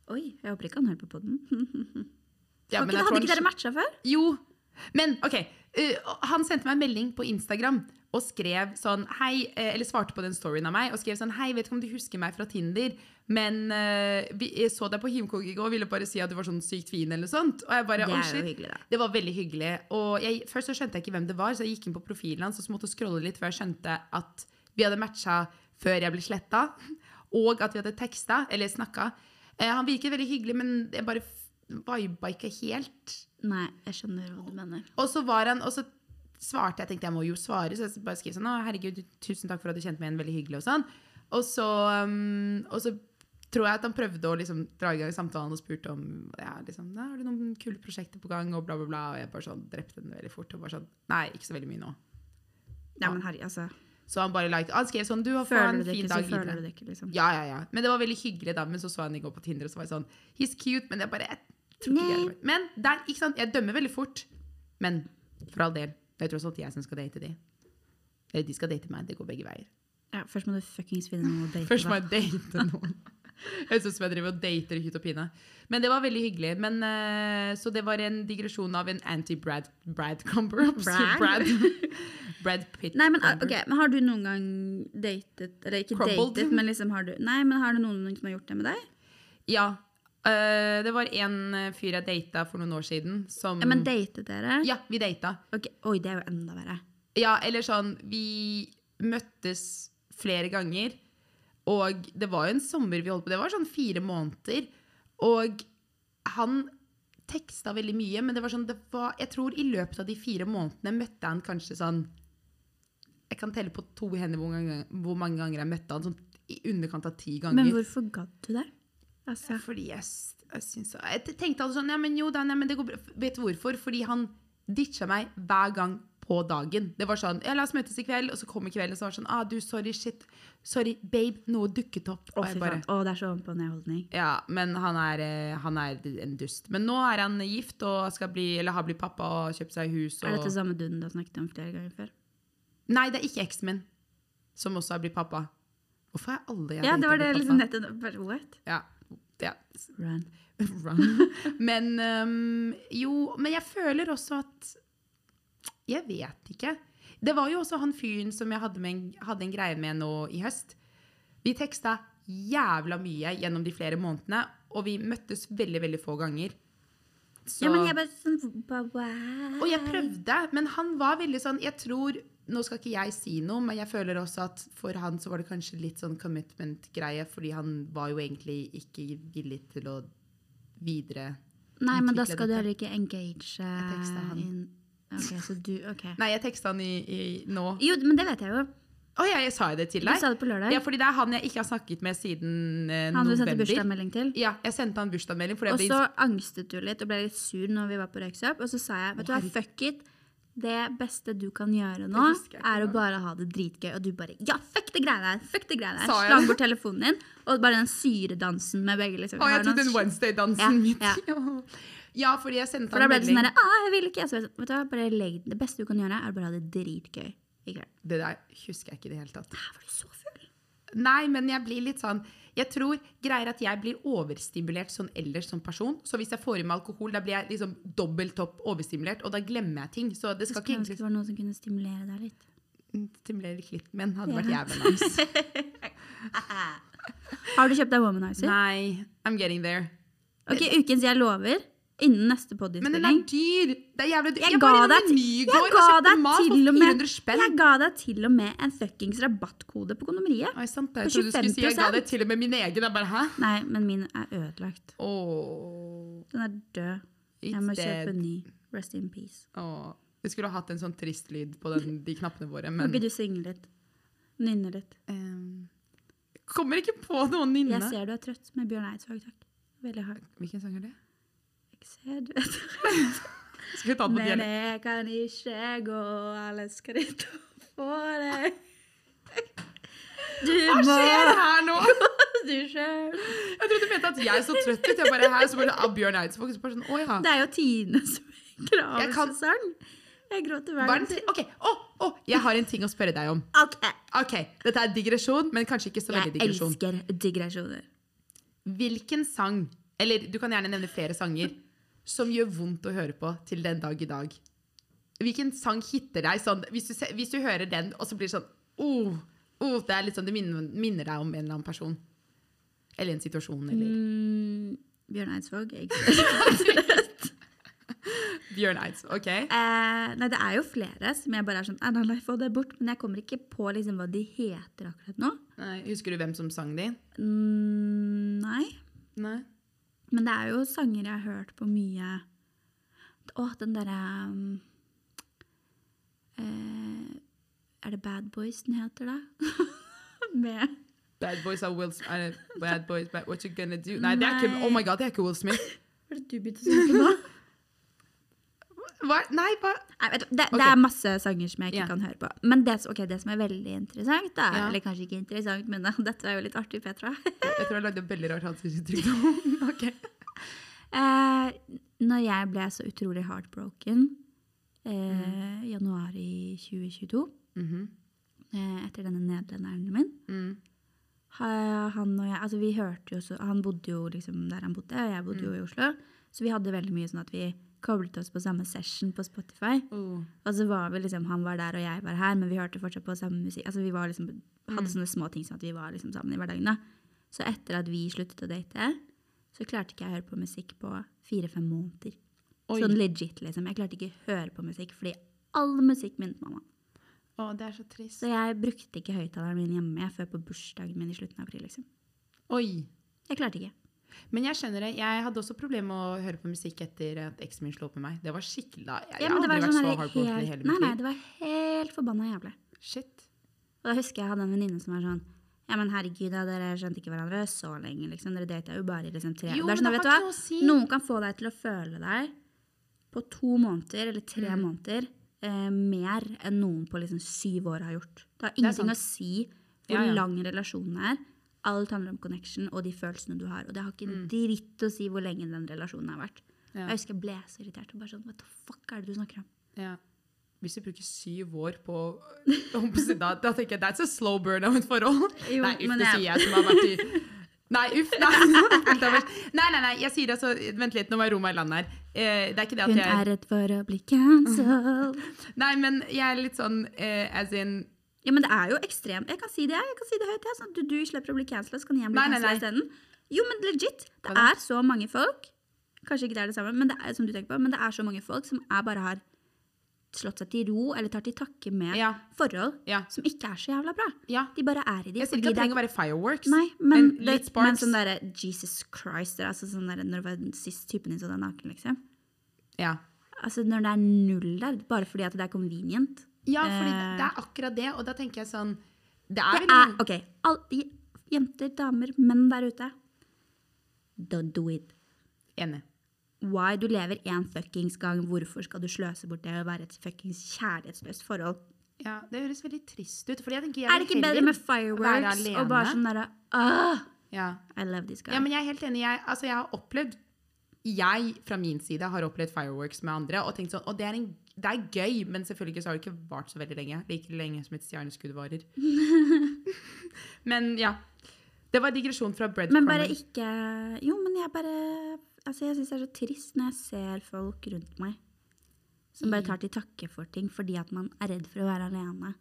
Oi, jeg håper ikke han hører på podden.
Ja,
Har ikke-
men jeg
hadde
tror han
ikke dere
skj-
matcha før?
Jo. Men ok, eh, han sendte meg en melding på Instagram og skrev sånn Hei, eh, eller svarte på den storyen av meg og skrev sånn Hei, vet ikke om du husker meg fra Tinder, men eh, vi, jeg så deg på Himkog i går og ville bare si at du var sånn sykt fin eller noe sånt. Og jeg bare,
Det
«Å,
er jo
shit».
hyggelig, da.
Det var veldig hyggelig. Og jeg, først så skjønte jeg ikke hvem det var, så jeg gikk inn på profilen hans og så måtte jeg scrolle litt før jeg skjønte at vi hadde matcha før jeg ble sletta, og at vi hadde teksta eller snakka. Eh, han virket veldig hyggelig, men jeg bare f- viba ikke helt.
Nei, jeg skjønner hva du mener.
Og så var han, og så svarte jeg, tenkte jeg må jo svare, så jeg bare skrev sånn, å herregud, tusen takk for at du kjente meg igjen, veldig hyggelig og sånn. Og så, um, og så tror jeg at han prøvde å liksom dra i gang samtalen og spurte om, ja, liksom, «Nei, har du noen kule prosjekter på gang, og bla bla bla, og jeg bare sånn, drepte den veldig fort, og bare sånn, nei, ikke så veldig mye nå.
Nei, men herre, altså.
Så han bare likte, han skrev sånn, du har fått
Føler du
en
det
fin
ikke, så
dag
føler du
videre.
det ikke, liksom.
Ja, ja, ja. Men det var veldig hyggelig da, men så så han i går på Tinder, og så var jeg sånn, he's cute, men jeg bare, jeg tror ikke jeg
Nei.
er- Men der, ikke sant, jeg dømmer veldig fort. Men for all del, det er tross alt jeg som skal date de. Eller de skal date meg, det går begge veier.
Ja, først må du fuckings finne noe å date.
Først
da.
må (laughs) jeg date noen. Jeg synes sånn jeg driver og dater i hytt og pine. Men det var veldig hyggelig. Men, eh, så det var en digresjon av en anti-Brad Brad Cumber.
Brad?
Brad, (laughs) Brad Pitt.
Nei, men, ah,
Cumber.
ok, men har du noen gang datet Eller ikke
Crumbled.
datet, men liksom har du Nei, men har du noen som har gjort det med deg?
Ja. eh, det var en eh, fyr jeg data for noen år siden som
Ja, men datet dere?
Ja, vi data.
Ok, Oi, det er jo enda verre.
Ja, eller sånn Vi møttes flere ganger. Og det var jo en sommer vi holdt på. Det var sånn fire måneder. Og han teksta veldig mye, men det var sånn det var, Jeg tror i løpet av de fire månedene møtte han kanskje sånn Jeg kan telle på to hender hvor, gang, hvor mange ganger jeg møtte han. Sånn i underkant av ti ganger.
Men hvorfor gadd du det? Altså,
Fordi jeg, s- jeg syns Jeg t- tenkte altså sånn, ja, men jo da, nei, men det går bra. Vet du hvorfor? Fordi han ditcha meg hver gang på dagen. Det var sånn, ja, la oss møtes i kveld, og så kom i kvelden, og så var det sånn, ah, du, sorry, shit, sorry, babe, noe dukket opp.
å,
Og
fy
jeg
faen.
bare,
Å, det er så ovenpå ned holdning.
ja, men han er, eh, han er en dust. Men nå er han gift, og skal bli, eller har blitt pappa og kjøpt seg hus.
Er dette
Og...
samme dunden du har snakket om flere ganger før?
Nei, det er ikke eksen min, som også har blitt pappa. Hvorfor er alle jeg
Ja,
dater
det var det
blitt
liksom
pappa?
nettet bare, What?
Ja, ja,
Run.
Run. (laughs) Men øhm, jo, men jeg føler også at Jeg vet ikke. Det var jo også han fyren som jeg hadde, med en, hadde en greie med nå i høst. Vi teksta jævla mye gjennom de flere månedene, og vi møttes veldig, veldig få ganger. Så-
Ja, men jeg bare sånn ba- wow.
og jeg prøvde, men han var veldig sånn Jeg tror, nå skal ikke jeg si noe, men jeg føler også at for han så var det kanskje litt sånn commitment-greie, fordi han var jo egentlig ikke villig til å videre
Nei, men da
utvikle
skal du
dette.
heller ikke engage eh,
tekstet han.
in- Ok, så du
(laughs)
Ok.
Nei, jeg teksta han i, i nå. Å
Jo, men det vet jeg jo.
ja, jeg sa jo det til
Du
deg.
sa det på lørdag.
Ja, fordi det er han jeg ikke har snakket med siden eh,
Han du sendte
november.
bursdagsmelding til.
Ja, jeg sendte han bursdagsmelding. fordi
Og
jeg
så
ble-
angstet du litt og ble litt sur når vi var på Røyksopp. Og så sa jeg vet du hva,
herregud.
fuck it. Det beste du kan gjøre nå,
Det husker jeg ikke
er å
engang.
bare ha det dritgøy. Og du bare ja, fuck det greiene her! fuck det greiene her,
Sa jeg
Slang
det?
bort telefonen din. Og bare den syredansen med begge. liksom.
Å,
Har
jeg tok
noen sk-
den
Ja,
Wednesday-dansen
ja.
min. (laughs) Ja, fordi jeg sendte
For da
han
ble det
melding.
sånn derre ah, jeg vil ikke. Så jeg sa, vet du hva, bare legg Det beste du kan gjøre, er å bare ha det dritgøy i kveld.
Det der husker jeg ikke i det hele tatt.
Her var du så full.
Nei, men jeg blir litt sånn Jeg tror greier at jeg blir overstimulert sånn ellers som person. Så hvis jeg får i meg alkohol, da blir jeg liksom dobbelt opp overstimulert, og da glemmer jeg ting. Så det
Jeg
skal
skulle
ikke
ønske
egentlig
det var noen som kunne stimulere deg litt.
stimulere klitten min. Hadde vært
Ja.
jævlig
(laughs)
nice.
Har du kjøpt deg womanizer?
Nei, I'm getting there.
Ok, ukens jeg lover. Innen neste
Men den er
podiinnspilling.
dyr! Det er jævlig dyr.
Jeg
Jeg,
ga
var innom
deg
en
ti-
ny i
Jeg
går og
ga
kjøpte
deg
mat
til
for
og med
400 spenn.
Jeg ga deg til og med en fuckings rabattkode på kondomeriet.
Oi, sant det.
På
Jeg trodde du skulle si jeg ga
25%.
det til og med min egen. Jeg bare, hæ?
Nei, men min er ødelagt.
Åh,
Den er død. Jeg
it's
må kjøpe
dead.
en ny. Rest in peace.
Åh. Vi skulle ha hatt en sånn trist lyd på den, de knappene våre,
Kan
men
ikke du synge litt? Nynne litt.
Ehm, Kommer ikke på noen nynne.
Jeg ser du er trøtt med Bjørn Eidsvåg, takk. Veldig hardt.
Hvilken sang er det?
Jeg ser du er trøtt.
Skal vi ta den på
Men
dialekt?
jeg kan ikke gå alle skritt for deg. Du
Hva
må
skjer her nå?!
(laughs) du sjøl.
Jeg trodde du mente at jeg så trøtt ut. Jeg bare her, så bare av Bjørn Eidsvåg. Så bare sånn, å ja.
Det er jo (laughs) tidenes
Jeg kan-
begravelsessang. Jeg gråter hver
Hva er
gang.
den ti- Ok, å, å, jeg har en ting å spørre deg om.
Ok.
Ok, Dette er digresjon, men kanskje ikke så
Jeg
veldig digresjon.
elsker digresjoner.
Hvilken sang, eller du kan gjerne nevne flere sanger, som gjør vondt å høre på til den dag i dag? Hvilken sang hitter deg sånn Hvis du, se- hvis du hører den, og så blir det sånn oh, oh, Det er litt sånn, det minner, minner deg om en eller annen person. Eller en situasjon, eller
Mm, Bjørn Eidsvåg. Jeg
(laughs) Bjørn Eids. Ok?
Eh, nei, det er jo flere som jeg bare er sånn «Ah, nei, nei, få det bort. Men jeg kommer ikke på liksom hva de heter akkurat nå.
Nei, husker du hvem som sang de?
Mm, nei.
Nei.
Men det er jo sanger jeg har hørt på mye. Å, den derre um, eh, Er det Bad Boys den heter, da? (laughs) Med
Bad Boys are Will Smith. er det Bad Boys, bad, what you gonna do? Nei, det er ikke, oh my god, det er ikke Will Smith.
Var det du begynte å synge på nå?
(laughs) Hva? Nei, hva?
(laughs) Nei, vet du, det, det
Ok.
er masse sanger som jeg ikke
Ja.
kan høre på. Men det, som- ok, det som er veldig interessant, da,
Ja.
eller kanskje ikke interessant, men (laughs) dette er jo litt artig, Petra. (laughs)
Jeg tror jeg lagde et veldig rart ansiktsuttrykk nå. (laughs) Ok.
Eh, når jeg ble så utrolig heartbroken eh, januar i 2022,
Mhm.
eh, etter denne nederlenderen min
mm.
ha- Han og jeg, altså vi hørte jo så, han bodde jo liksom der han bodde, og jeg bodde jo i Oslo. Så vi hadde veldig mye sånn at vi koblet oss på samme session på Spotify.
Oh.
Og så var vi liksom, han var der og jeg var her, men vi hørte fortsatt på samme musikk. Altså vi var liksom,
Mm.
hadde sånne små ting som at vi var liksom sammen i hverdagen da. Så etter at vi sluttet å date, så klarte ikke jeg å høre på musikk på fire-fem måneder.
Oi.
Sånn legit liksom. Jeg klarte ikke å høre på musikk, fordi all musikk minnet mamma.
Å, det er så trist.
Så jeg brukte ikke høyttaleren min hjemme før på bursdagen min i slutten av april liksom.
Oi.
Jeg klarte ikke.
Men jeg skjønner det. Jeg hadde også problemer med å høre på musikk etter at eksen min slo opp med meg. Det var skikkelig da. Jeg,
men
jeg har
det
aldri
var
vært
sånn
så
der
hardbroken i
helt-
hele mitt
Nei, nei,
liv.
det var helt forbanna jævlig.
Shit.
Og da husker jeg jeg hadde en venninne som var sånn Ja, men herregud, da, dere skjønte ikke hverandre så lenge, liksom. Dere data jo bare i liksom tre
Jo,
Det er
men
sånn,
det
vet du
har ikke
hva,
noe å si.
noen kan få deg til å føle deg på to måneder, eller tre
Mm.
måneder, eh, mer enn noen på liksom syv år har gjort. Det har
sant.
ingenting å si hvor
Ja, ja.
lang relasjonen er. Alt handler om connection og de følelsene du har. Og det har ikke en dritt å si hvor lenge den relasjonen har vært.
Mm. Ja.
Jeg husker jeg ble så irritert. og bare sånn, What the fuck er det du snakker om?
Ja. Hvis du bruker syv år på (laughs) holdt på å si, da, da tenker jeg that's a slow burn av et forhold.
Jo,
nei, uff,
men
det
jeg-
sier jeg som har vært i Nei, uff. Nei, (laughs) nei, nei, nei jeg sier det, så vent litt, nå må jeg ro meg i land her. Eh, det er ikke det at
Hun
jeg
er redd for å bli cancelled.
Nei, men jeg er litt sånn eh, as in
Ja, men det er jo ekstremt. Jeg kan si det, jeg kan si det høyt. Jeg, sånn at du, du slipper å bli cancela, så kan jeg bli
Nei, nei,
cancela
nei.
isteden. Jo, men legit. Det
Hva da?
er så mange folk Kanskje ikke det er det samme, men det er, som du tenker på, men det er så mange folk som er bare har slått seg til ro eller tar til takke med
Ja.
forhold
Ja.
som ikke er så jævla bra.
Ja.
De bare er i de.
Jeg sier ikke at det
det er-
trenger å være fireworks.
Nei, men,
men
det,
litt
men
sparks.
sånn derre Jesus Christ det er altså sånn derre Når det var den sist typen din så deg naken, liksom.
ja.
Altså Når det er null der, bare fordi at det er convenient.
Ja, fordi det,
Eh.
det er akkurat det, og da tenker jeg sånn Det er
Det
veldig
er,
mange
Ah, ok, all, j- jenter, damer, menn der ute. Don't do it.
Enig.
Why? Du lever én fuckings gang. Hvorfor skal du sløse bort det å være et fuckings kjærlighetsløst forhold?
Ja, det høres veldig trist ut. Fordi jeg tenker jeg
Er det ikke
vil
bedre
heller
med fireworks
være
og bare
alene?
sånn derre «Åh,
ja.
I love this guy.
ja, men jeg er helt enig. Jeg, altså, jeg har opplevd Jeg, fra min side, har opplevd fireworks med andre og tenkt sånn Og det er, en, det er gøy,
(laughs)
men selvfølgelig så har det ikke vart så veldig lenge. Like lenge som et stjerneskudd varer. Men ja. Det var digresjon fra breadcrumbing.
Men bare ikke Jo, men jeg bare Altså, jeg syns det er så trist når jeg ser folk rundt meg som
Mm.
bare tar til takke for ting fordi at man er redd for å være alene.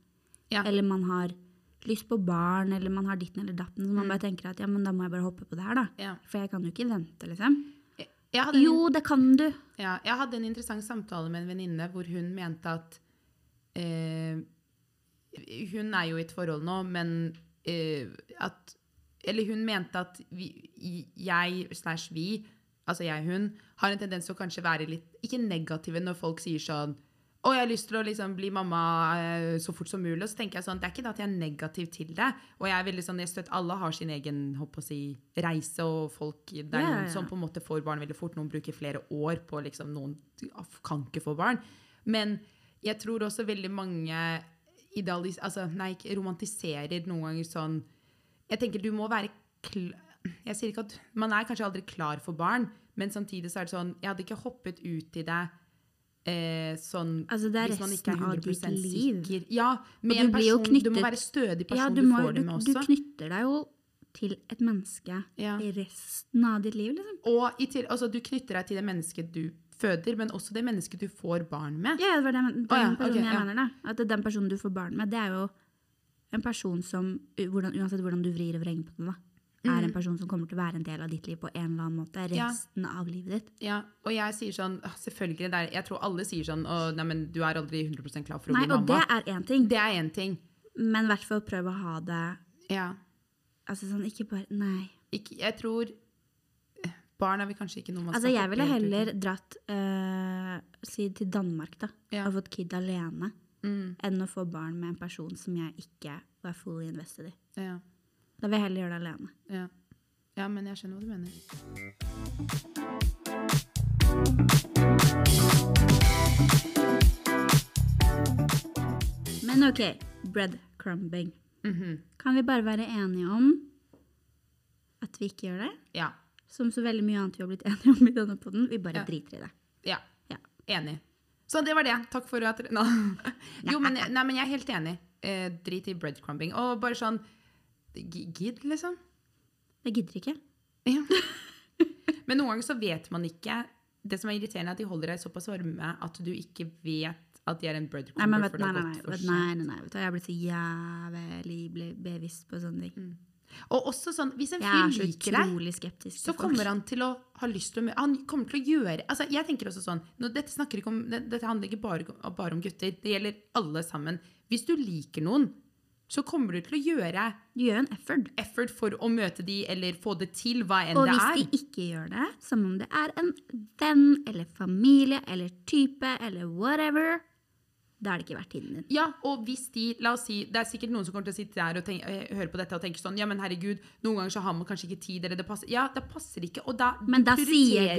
Ja.
Eller man har lyst på barn, eller man har ditten eller datten. Så man bare tenker at ja, men da må jeg bare hoppe på det her, da.
Mm. Ja.
For jeg kan jo ikke vente, liksom.
Jeg- jeg hadde en-
Jo, det kan du.
Ja, jeg hadde en interessant samtale med en venninne hvor hun mente at eh, Hun er jo i et forhold nå, men eh, at Eller hun mente at vi, i- jeg slash vi, altså jeg hun, har en tendens til å kanskje være litt Ikke negative når folk sier sånn å, jeg har lyst til å liksom bli mamma eh, så fort som mulig. Og så tenker jeg sånn, det er ikke det at jeg er negativ til det. Og jeg er veldig sånn, jeg støtter alle har sin egen håper å si, reise, og folk, det er
Ja, ja,
noen
ja.
som på en måte får barn veldig fort. Noen bruker flere år på liksom, noen kan ikke få barn. Men jeg tror også veldig mange idealis, altså, nei, ikke romantiserer noen ganger sånn, jeg tenker du må være kl jeg sier ikke at Man er kanskje aldri klar for barn, men samtidig så er det sånn Jeg hadde ikke hoppet ut i det eh, sånn
Altså, det er
hvis man ikke er
resten av
100
ditt liv.
sikker. Ja, med
du
en
blir jo
person, Du
knyttet-
må være stødig person
Ja,
du,
du, må,
får
du,
det med
du
også.
knytter deg jo til et menneske
Ja.
i resten av ditt liv, liksom.
og i til, altså, du knytter deg til det mennesket du føder, men også det mennesket du får barn med.
Ja, det var den, den
Å ja,
personen
ok,
jeg
ja.
mener, da. At den personen du får barn med, det er jo en person som, u- hvordan, uansett hvordan du vrir og vrenger på det, da, er en person som kommer til å være en del av ditt liv på en eller annen måte
Mm. Ja.
resten av livet ditt.
Ja, og jeg sier sånn «Åh, Selvfølgelig. Det er, jeg tror alle sier sånn «Åh, Nei, men du er aldri 100 klar for å
Nei,
bli
og det
mamma.
er én ting,
Det er én ting.
men i hvert fall prøv å ha det
Ja.
altså sånn, ikke bare Nei.
Ikke, jeg tror eh, Barn er vel kanskje ikke noe man
Altså, jeg
hoppe
ville
helt ut i.
heller dratt eh, si til Danmark, da,
Ja.
og fått kid alene,
Mm,
enn å få barn med en person som jeg ikke var fully invested i.
ja,
Da vil jeg heller gjøre det alene.
ja. ja, men jeg skjønner hva du mener.
Men ok, breadcrumbing.
Mhm.
Kan vi bare være enige om at vi ikke gjør det?
Ja.
Som så veldig mye annet vi har blitt enige om i denne podden. Vi bare
Ja.
driter i det.
ja.
Ja.
Enig. Så det var det. Takk for at no. (laughs) Jo, men, nei, men jeg er helt enig. Eh, drit i breadcrumbing. Og bare sånn gi- Gidd, liksom.
Jeg gidder ikke.
Ja. Men noen ganger så vet man ikke Det som er irriterende, er at de holder deg såpass varme at du ikke vet at de er en breadcrumber.
Nei, men vet,
for det
nei,
har
nei, nei,
gått for
vet,
sent.
nei, nei, nei. Vet du, hva, jeg har blitt så jævlig ble- bevisst på sånne ting.
Og også sånn, hvis en
Jeg er så
fyr Mm. liker deg
utrolig skeptisk
så kommer han til å ha lyst til å mø- Han kommer til å gjøre altså jeg tenker også sånn, nå, dette, snakker ikke om, det- dette handler ikke bare, om- bare om gutter. Det gjelder alle sammen. Hvis du liker noen, så kommer du til å gjøre
Du gjør en effort.
effort for å møte de eller få det til, hva enn
Og
det
hvis
er.
de ikke gjør det, som om det er en venn eller familie eller type eller whatever, da er det ikke verdt tiden din.
Ja, og hvis de, la oss si, Det er sikkert noen som kommer til å sitte der og tenke, eh, høre på dette og tenke sånn Ja, men herregud, noen ganger så har man kanskje ikke tid, eller det passer Ja, det passer ikke, og da
Men da
prioriterer-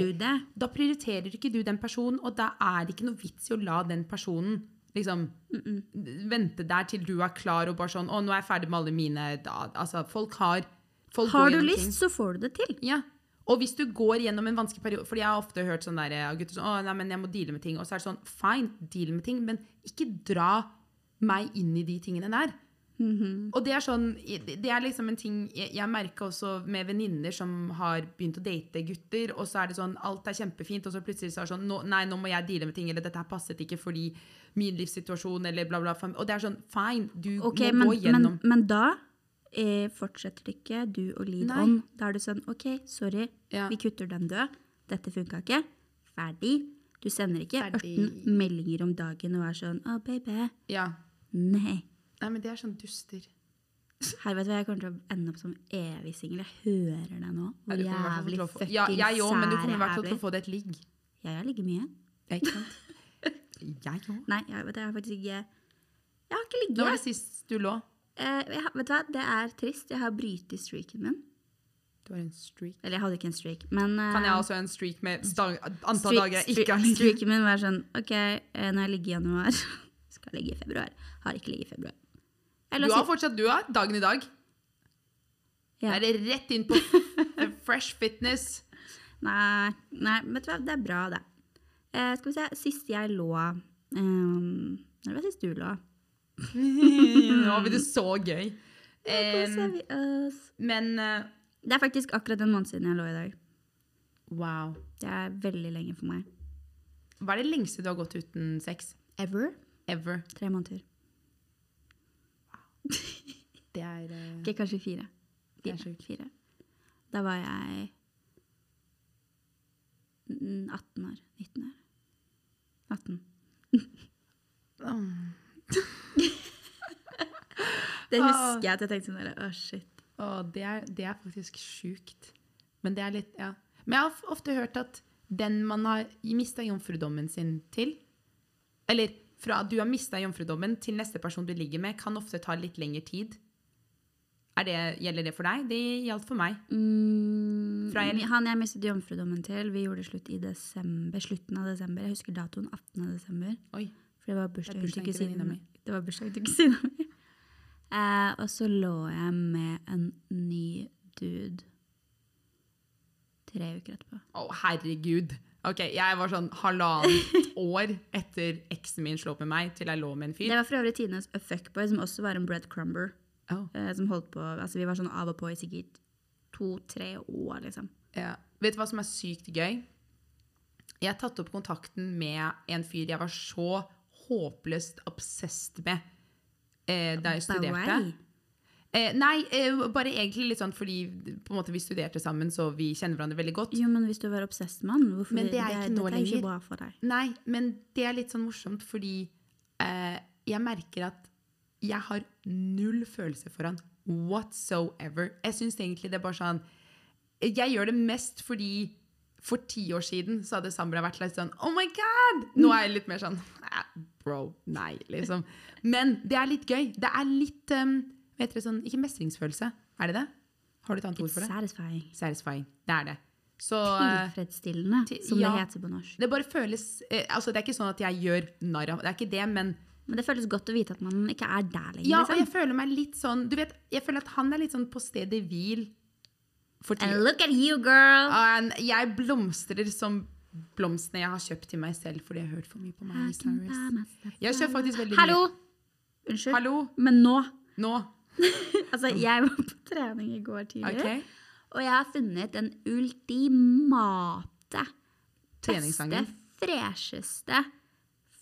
sier du det.
Da prioriterer ikke du den personen, og da er det ikke noe vits i å la den personen liksom vente der til du er klar og bare sånn Å, nå er jeg ferdig med alle mine da, Altså, folk har folk
Har
går
du
gjennom ting.
lyst, så får du det til.
Ja. Og hvis du går gjennom en vanskelig periode Fordi jeg har ofte hørt sånn der av gutter sånn, Å, nei, men jeg må deale med ting. Og så er det sånn, fine, deal med ting, men ikke dra meg inn i de tingene der.
Mhm.
Og det er sånn Det er liksom en ting jeg, jeg merker også med venninner som har begynt å date gutter, og så er det sånn Alt er kjempefint, og så plutselig så er det sånn nå, Nei, nå må jeg deale med ting, eller dette her passet ikke fordi min livssituasjon, eller bla, bla. fam- Og det er sånn, fine, du
Ok,
må
men,
gå
men,
gjennom
men da eh, fortsetter ikke du å lide
Nei.
om. Da er du sånn OK, sorry,
Ja.
vi kutter den død. Dette funka ikke. Ferdig. Du sender ikke
Ferdig.
18 meldinger om dagen og er sånn Å, baby.
Ja.
Nei.
Nei, men det er sånn duster.
Her vet du, hva, Jeg kommer til å ende opp som evig singel. Jeg hører det nå.
Ja,
Hvor
du kommer
jævlig
i hvert fall til å få-
fucking
ja, jeg òg, men du
sær
kommer i hvert fall
jeg
til å
blir.
få deg et ligg.
Ja, jeg ligger mye.
Ja, Ikke sant? (laughs) Jeg òg.
Nei, jeg vet du, jeg har faktisk ikke Jeg har ikke
Når var
ligget.
det sist du lå?
Eh, jeg, har- vet du hva, det er trist. Jeg har brytet streaken min.
Du har en streak.
Eller jeg hadde ikke en streak, men eh,
Kan jeg også ha en streak med dag, antall
Streak-
dager jeg
streak-
ikke har ligget?
Streaken min var sånn OK, eh, når jeg ligger i januar (laughs) Skal ligge i februar. Har ikke ligget i februar. Jeg lå
Du har
sist-
fortsatt du har dagen i dag.
Ja.
Da er det rett (laughs) inn på Fresh (laughs) Fitness.
Nei, nei, vet du hva, det er bra, det. Eh, skal vi se, sist jeg lå ehm, um, Når var sist du lå?
Nå blir det så gøy.
Nå koser
Em,
vi oss.
men eh,
Det er faktisk akkurat en måned siden jeg lå i dag.
wow.
Det er veldig lenge for meg.
Hva er det lengste du har gått uten sex?
Ever?
Ever.
Tre måneder.
Det er eh,
Ikke kanskje fire.
Det er
Fire.
sjukt.
fire. Da var jeg mm, 18 år. 19 år. 18.
åh,
Det
Ah.
husker jeg at jeg tenkte sånn der, Å, shit.
åh, det, er, det er faktisk sjukt. Men det er litt Ja. Men jeg har f- ofte hørt at den man har mista jomfrudommen sin til Eller fra du har mista jomfrudommen til neste person du ligger med, kan ofte ta litt lengre tid. Er det, gjelder det for deg? Det gjaldt for meg.
Mm,
Fra jeg-
han jeg mistet jomfrudommen til, vi gjorde slutt i desember, slutten av desember. Jeg husker datoen 18. desember.
Oi.
For det var bursdagen til
bursdagen til venninna
kusina mi.
mi.
Det var bursdagen til kusina mi. Eh, og så lå jeg med en ny dude tre uker etterpå.
Å, herregud. Ok, jeg var sånn halvannet (laughs) år etter eksen min slo opp med meg, til jeg lå med en
Det
fyr.
var for øvrig Tines A fuckboy, som også var en breadcrumber.
Åh,
Eh, som holdt på, altså Vi var sånn av og på i sikkert to-tre år, liksom.
ja. Vet du hva som er sykt gøy? Jeg har tatt opp kontakten med en fyr jeg var så håpløst obsessed med eh, da jeg studerte.
Bawai.
Eh, nei, eh, bare egentlig litt sånn fordi på en måte, vi studerte sammen, så vi kjenner hverandre veldig godt.
Jo, men hvis du var obsessed med han, hvorfor
Men det er ikke nå
dette er jo
lenger.
ikke bra for deg.
Nei, men det er litt sånn morsomt fordi eh, jeg merker at jeg har null følelse for han whatsoever. Jeg syns egentlig det er bare sånn Jeg gjør det mest fordi for ti år siden så hadde Sambra vært litt sånn Oh my God! Nå er jeg litt mer sånn "Eh, Bro, nei, liksom. Men det er litt gøy. Det er litt um, vet dere, sånn, Ikke mestringsfølelse. Er det det? Har du et annet ord for det?
Satisfying.
Satisfying. Det er det. Så
(laughs)
eh,
Tilfredsstillende,
til-
som
ja.
det heter på norsk.
det bare føles eh, altså Det er ikke sånn at jeg gjør narr av Det er ikke det, men
Men det føles godt å vite at man ikke er der lenger.
ja, og
liksom.
jeg føler meg litt sånn Du vet, jeg føler at han er litt sånn på stedet hvil for
And
tiden.
look at you, girl!
And jeg blomstrer som blomstene jeg har kjøpt til meg selv fordi jeg har hørt for mye på Miley Cyrus. Jeg kjører faktisk veldig mye-
Hallo! Unnskyld.
Hallo,
Men nå (laughs)
nå.
Altså, jeg var på trening i går tidlig,
OK?
og jeg har funnet den ultimate, beste,
Treningssangen.
fresheste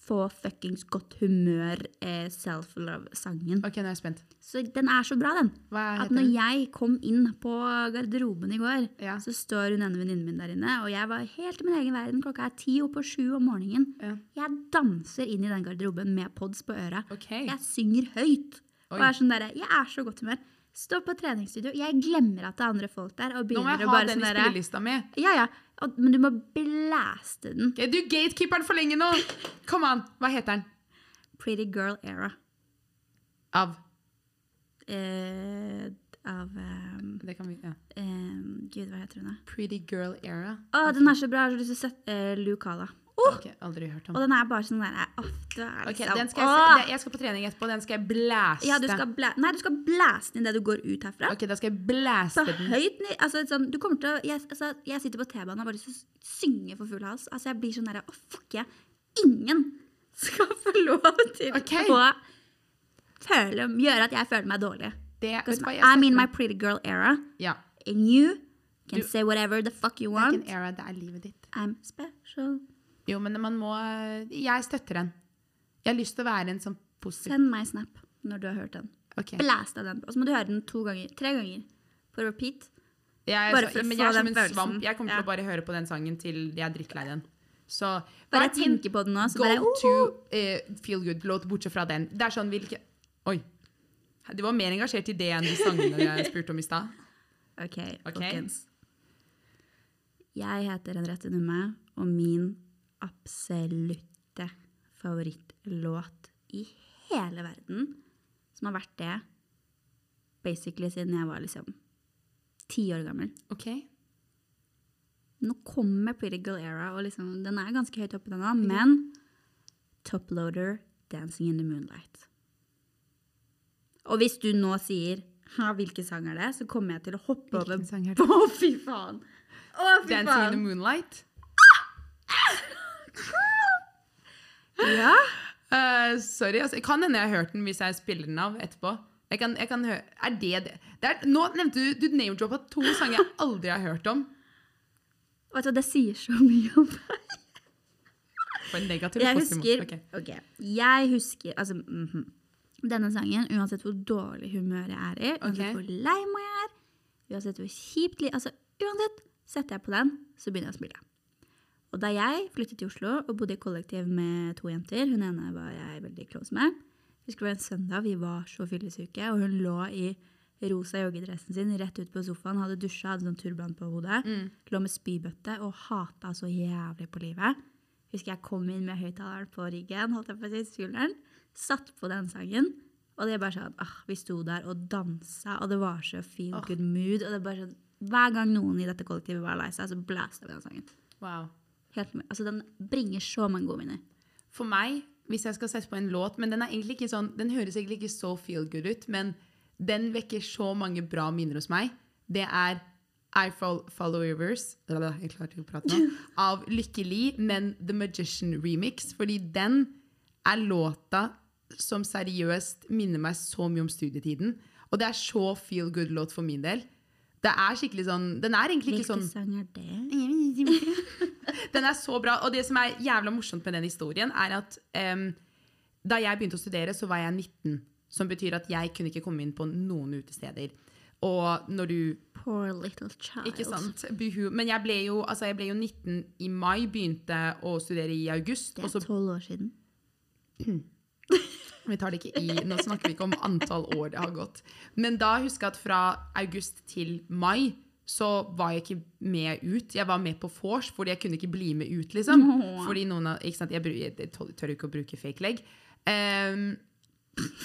få fuckings godt humør-self-love-sangen.
OK, nå er jeg spent.
Så den er så bra, den.
Hva
At
heter
når
den?
jeg kom inn på garderoben i går,
Ja.
så står hun ene venninnen min der inne, og jeg var helt i min egen verden. Klokka er ti og på sju om morgenen.
Ja.
Jeg danser inn i den garderoben med pods på øra.
OK.
Jeg synger høyt. Og
Oi.
er sånn derre Jeg er så godt humør. Står på treningsstudio, jeg glemmer at det er andre folk der, og
Nå må
begynner
jeg
å
ha
bare
den
sånn
i
derre
spillelista mi.
Ja, ja. Og, men du må blæste den.
Ok, Du gatekeeper den for lenge nå! Kom an! Hva heter den?
Pretty Girl Era.
Av
Eh, av ehm,
det kan vi, ja.
ehm, Gud, hva heter hun, da?
Pretty girl era.
Å, den er så bra. Jeg har så lyst til å sette eh, Lou Kala. Oh!
Ok, aldri hørt om.
Og den er bare sånn derre Åh, du er
Ok,
liksom
den skal jeg,
Åh!
se- det- jeg skal på trening etterpå. Den skal jeg blæste.
Ja, du skal blæ Nei, du skal blæste den idet du går ut herfra.
Ok, da skal jeg
Så
blæste den.
høyt ni- altså, sånn, du kommer til å, jeg, altså, jeg sitter på T-banen og har bare lyst til å synge for full hals. Altså, jeg blir sånn derre Å, fuck jeg. Ingen skal få lov til
Ok.
å føle, gjøre at jeg føler meg dårlig.
Det, vet
Because
du hva, jeg
I'm in
setter-
my pretty girl era.
Ja.
And you can
Du-
say whatever the fuck you
Det er ikke
want.
en era, det er livet ditt.
I'm special.
Jo, men man må Jeg støtter den. Jeg har lyst til å være en sånn positiv
Send meg snap når du har hørt den.
Ok.
Blæst av den. Og så må du høre den to ganger. Tre ganger. På repeat.
Jeg,
Bare for
så-
å
men
få
jeg er som
den
en
følelsen.
svamp. Jeg kommer til
Ja.
å bare høre på den sangen til jeg er drittlei den. Så
Bare
hva er
jeg tenker på den nå, så
go
bare
to
oh,
eh, feel good-låt, bortsett fra den. Det er sånn hvilke Oi. Du var mer engasjert i det enn de sangene jeg spurte om i
(laughs)
stad.
OK,
Ok.
folkens. Jeg heter Henriette Numme, og min absolutte favorittlåt i hele verden, som har vært det basically siden jeg var liksom ti år gammel
OK?
Nå kommer Pretty Girl Era, og liksom, den er ganske høyt oppe, den òg, men Toploader, Dancing in the Moonlight. Og hvis du nå sier «Hæ, hvilken sang er det?», så kommer jeg til å hoppe over
Hvilken sang er
(laughs)
det?
Å, fy faen! Å, fy
Dancing in the
faen!
moonlight.
Ja.
Eh, sorry, altså, kan hende jeg har hørt den hvis jeg spiller den av etterpå. Jeg kan, jeg kan høre Er det det? det er, nå nevnte du Du name-droppa to sanger jeg aldri har hørt om.
Vet du, hva, Det sier så mye om deg.
På en negativ
Jeg
og positiv måte.
husker
Ok.
ok, Jeg husker Altså, mhm. denne sangen, uansett hvor dårlig humør jeg er i, uansett
Ok.
hvor lei meg jeg er, uansett hvor kjipt li- Altså, uansett setter jeg på den, så begynner jeg å smile. Og da jeg flyttet til Oslo og bodde i kollektiv med to jenter, hun ene var jeg veldig close med, husker det var en søndag, vi var så fyllesyke, og hun lå i rosa joggedressen sin rett ut på sofaen, hadde dusja, hadde sånn turban på hodet, lå med spybøtte og hata så jævlig på livet. Husker jeg kom inn med høyttaleren på ryggen, holdt jeg på å si, skulderen, satt på den sangen, og det er bare sånn, ah, vi sto der og dansa, og det var så fin, good mood, og det er bare sånn, hver gang noen i dette kollektivet var lei seg, så blæste vi den sangen.
Wow.
Helt, med- altså den bringer så mange gode minner.
For meg, hvis jeg skal sette på en låt Men den er egentlig ikke sånn Den høres egentlig ikke så feel good ut, men den vekker så mange bra minner hos meg. Det er I Fol- Follow Rivers la, la, jeg klarer ikke å prate nå, av Lykke Li, men The Magician Remix. Fordi den er låta som seriøst minner meg så mye om studietiden. Og det er så feel good-låt for min del. Det er skikkelig sånn Den er egentlig ikke
Hvilken
sånn
sang er det?
den er så bra. Og det som er jævla morsomt med den historien, er at em, da jeg begynte å studere, så var jeg 19. Som betyr at jeg kunne ikke komme inn på noen utesteder. Og når du
Poor little child.
Ikke sant? Buhu. Men jeg ble, jo, altså jeg ble jo 19 i mai, begynte å studere i august.
Det
Og
er
så
tolv år siden.
Vi tar det ikke i, Nå snakker vi ikke om antall år det har gått. Men da husker jeg at fra august til mai så var jeg ikke med ut. Jeg var med på vors fordi jeg kunne ikke bli med ut. liksom. Fordi noen av, ikke sant, Jeg, bru- jeg tør tør ikke å bruke fake leg. Ehm,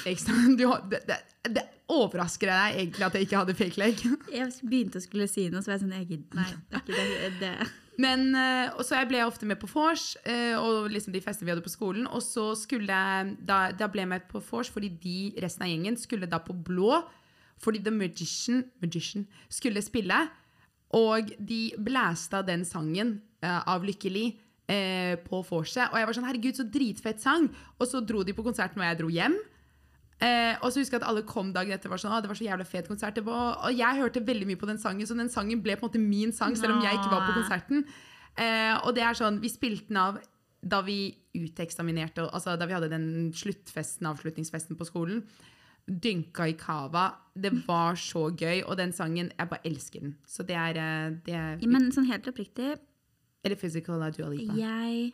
ikke sant? Du, har- det, det, det overrasker deg egentlig at jeg ikke hadde fake leg.
Jeg begynte å skulle si noe, så var jeg sånn jeg gidder- Nei, det er ikke det. det.
Men, eh, og så jeg ble ofte med på vors eh, og liksom de festene vi hadde på skolen. Og så skulle jeg, da, da ble jeg med på vors fordi de, resten av gjengen, skulle da på blå. Fordi The Magician, Magician skulle spille. Og de blæsta den sangen eh, av Lykke Li eh, på vorset. Og jeg var sånn herregud, så dritfett sang! Og så dro de på konserten, og jeg dro hjem. Eh, og så husker jeg at alle kom dagen etter og var sånn, «Å, det var så jævla fet konsert. Det var, og jeg hørte veldig mye på den sangen, så den sangen ble på en måte min sang, selv om jeg ikke var på konserten. Eh, og det er sånn, vi spilte den av da vi uteksaminerte, og- altså da vi hadde den sluttfesten, avslutningsfesten på skolen. Dynka i kava. Det var så gøy, og den sangen, jeg bare elsker den. Så det er, eh, det er
Ja, (laughs) Men sånn helt oppriktig,
Eller Physical av Dua Lipa.
jeg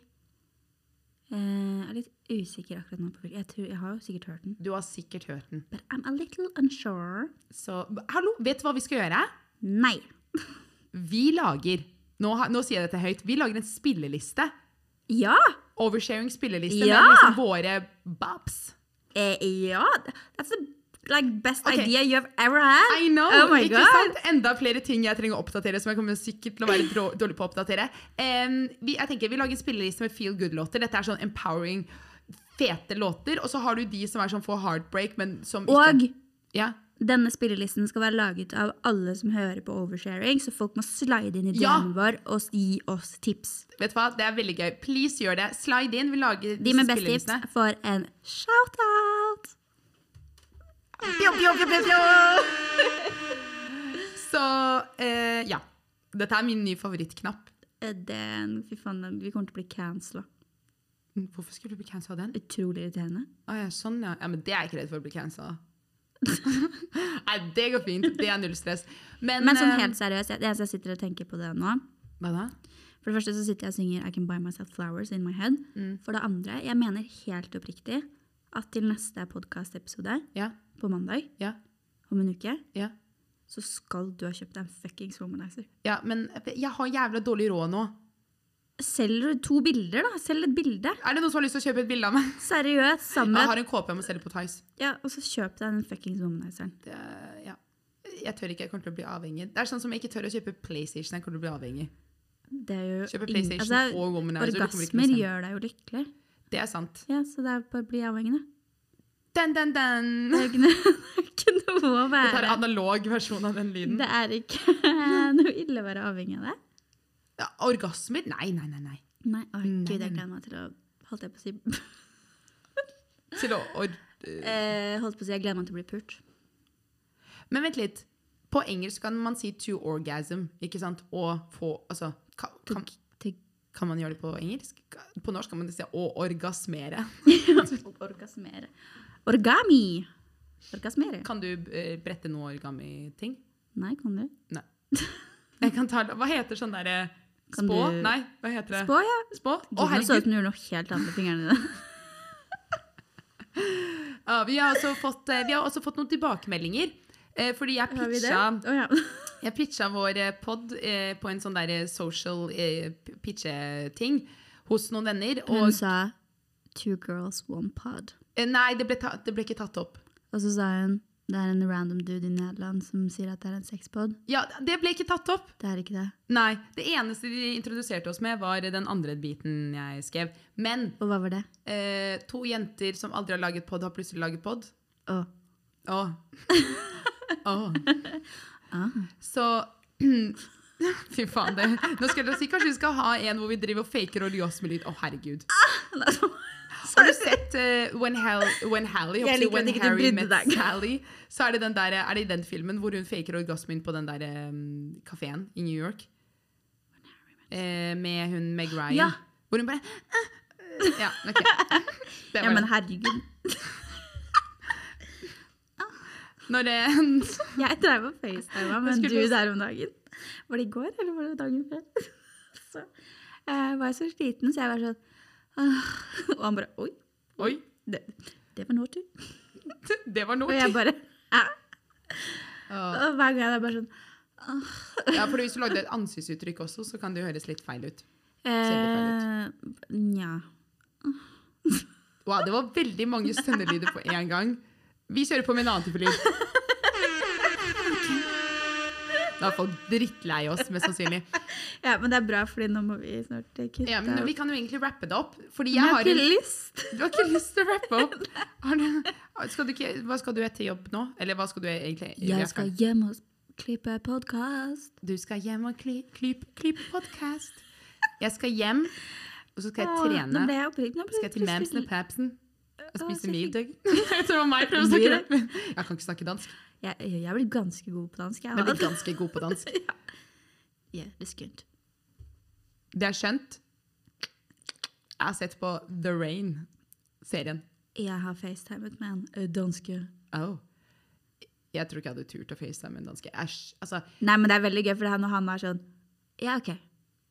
eh, er litt usikker akkurat nå. på hvilken- Jeg, tror, jeg har jo sikkert hørt den.
Du har sikkert hørt den.
But I'm a little unsure.
Så hallo, vet du hva vi skal gjøre?
Nei.
Vi lager nå, ha- nå sier jeg dette høyt. Vi lager en spilleliste.
Ja!
Oversharing spilleliste
Ja!
med liksom våre bops.
Eh, ja! That's the like, best
Ok.
idea you have ever had.
I know!
Oh my
ikke
God.
sant? Enda flere ting jeg trenger å oppdatere. som jeg kommer sikkert til å være drå- dårlig på å oppdatere. Em, vi, jeg tenker, vi lager en spilleliste med feel good-låter. Dette er sånn empowering, fete låter. Og så har du de som er sånn for heartbreak, men som
Og
ikke ja.
denne spillelisten skal være laget av alle som hører på Oversharing, så folk må slide inn i DM-en
Ja.
vår og s- gi oss tips.
Vet du hva? Det er veldig gøy. Please gjør det. Slide inn. Vi lager
De med best tips
spillelistene.
får en shout-out!
Pjo, pjo, pjo, pjo, pjo. Så eh, ja. Dette er min nye favorittknapp.
Eh, Den, fy faen, den, vi kommer til å bli cancela.
Hvorfor skulle du bli cancela av den?
Utrolig irriterende.
Å ja, sånn ja. ja. Men det er jeg ikke redd for å bli cancela. (laughs) Nei, det går fint. Det er null stress. Men,
Men sånn
eh,
helt seriøst, jeg, det eneste jeg sitter og tenker på det nå
Hva da?
For det første så sitter jeg og synger I Can Buy Myself Flowers In My Head.
Mm.
For det andre, jeg mener helt oppriktig at til neste podkast-episode
Ja,
på mandag
ja,
om en uke,
ja.
så skal du ha kjøpt deg en fuckings womanizer.
Ja, men jeg har jævla dårlig råd nå.
Selger du to bilder, da? Selg et bilde.
Er det noen som har lyst til å kjøpe et bilde av meg?
Seriøst, sammen.
Jeg har en kåpe jeg må selge på Tice.
Ja, og så kjøp deg den fuckings womanizeren.
Det, ja. Jeg tør ikke. Jeg kommer til å bli avhengig. Det er sånn som jeg ikke tør å kjøpe PlayStation. Jeg kommer til å bli avhengig.
Det er jo
Kjøpe
ingen-
PlayStation
altså,
og womanizer, du kommer ikke til å
Orgasmer
bestemme.
gjør deg jo lykkelig.
Det er sant.
Ja, så det er bare å bli avhengig, da. (laughs)
Den, den, den.
Det er ikke noe, det er ikke noe å
Det er en
være
analog versjon av den lyden.
Det er ikke (laughs) noe ille å være avhengig av det.
Ja, Orgasmer? Nei, nei, nei. nei.
Nei, å gud,
nei,
jeg gleder meg til å Holdt jeg på å si (laughs)
Til å or (laughs)
eh, Holdt på å si, jeg gleder meg til å bli pult.
Men vent litt. På engelsk kan man si to orgasm, ikke sant? Og få Altså, ka- kan,
to-
kan man gjøre det på engelsk? Ka- På norsk kan man si å orgasmere.
Orgasmere. Orgami! Orgasmere.
Kan du eh, brette noe origami-ting?
Nei, kan du?
Nei. Jeg kan ta Hva heter sånn derre
Kan
Spå?
du-
Nei, hva heter det?
Spå, ja.
Spå? Å,
Gud, nå så ut
herregud.
som du gjorde noe helt annet med fingrene dine.
Ja, vi, har også fått, eh, vi har også fått noen tilbakemeldinger. eh, Fordi jeg
Har vi det?
pitcha,
Å, ja.
jeg pitcha vår eh, pod på en sånn der eh, social eh, p- pitche-ting hos noen venner.
Hun
Og,
sa 'two girls, one pod'.
eh, nei, det ble, ta, det ble ikke tatt opp.
Og så sa hun 'det er en random dude i Nederland som sier at det er en sexpod'.
Ja, det ble ikke tatt opp.
Det er ikke det.
Nei. Det eneste de introduserte oss med, var den andre biten jeg skrev. Men
Og hva var det?
eh, to jenter som aldri har laget pod, har plutselig laget pod.
(laughs) Å,
Åh. Åh.
Ah.
Så (clears throat) Fy faen, det. Nå skal jeg si kanskje vi skal ha en hvor vi driver og faker orgasme med lyd. Å, herregud.
sånn-
Har du sett eh, When, Hal when Hallie
Jeg liker
jeg håper å si
at
When
ikke du
Harry
brydde
Met
deg.
Sally, så er det, den der, er det i den filmen hvor hun faker orgasmen på den der um, kafeen i New York? Eh, med hun Meg Ryan.
Ja.
Hvor hun bare eh, eh, Ja,
(laughs)
ok.
ja,
Det var
men
det.
herregud.
Når eh, det
Jeg drev og facetima med en
skulle
dude
også-
her om dagen. Var det i går, eller var det dagen før? (laughs) Så eh, var jeg så sliten, så jeg var sånn «Åh». Og han bare 'oi,
(laughs) Oi,
det, det var naughty'.
det var
Og
noe.
jeg bare «Æ».
Åh.
Og hver gang jeg er bare sånn
Ja, for hvis du lagde et ansiktsuttrykk også, så kan det jo høres litt feil ut.
eh, Nja.
Wow, det var veldig mange stønnelyder på én gang. Vi kjører på med en annen type lyd. Da er folk drittlei oss, mest sannsynlig.
Ja, men det er bra, fordi nå må vi snart eh, kutte.
Ja, men vi kan jo egentlig rappe det opp. Fordi
jeg
jeg
har
har en,
ikke lyst.
Du har ikke lyst til å rappe opp? Har du, skal du ikke, hva skal du etter jobb nå? Eller hva skal du egentlig vi er
Jeg skal
ferdig.
hjem og klippe podkast.
Du skal hjem og kly- klype klyp podkast. Jeg skal hjem, og så skal jeg trene.
Nå ble jeg oppriktig. nå ble
Skal jeg til
jeg
Mamsen og
plutselig-
Papsen og
Å,
spise
så
middag? (laughs) Det var meg prøve å snakke
Middag.
dansk. men Jeg kan ikke snakke dansk.
Jeg, jeg blir ganske god på dansk. Jeg
Men jeg
har-
blir ganske god på dansk.
Ja, det er skunt.
Det er skjønt. Jeg har sett på The Rain, serien.
Jeg har facetimet med en ø, danske.
Oh. Jeg tror ikke jeg hadde turt å facetime en danske. Æsj. Altså,
Nei, men det er veldig gøy, for det er når han er sånn Ja, OK.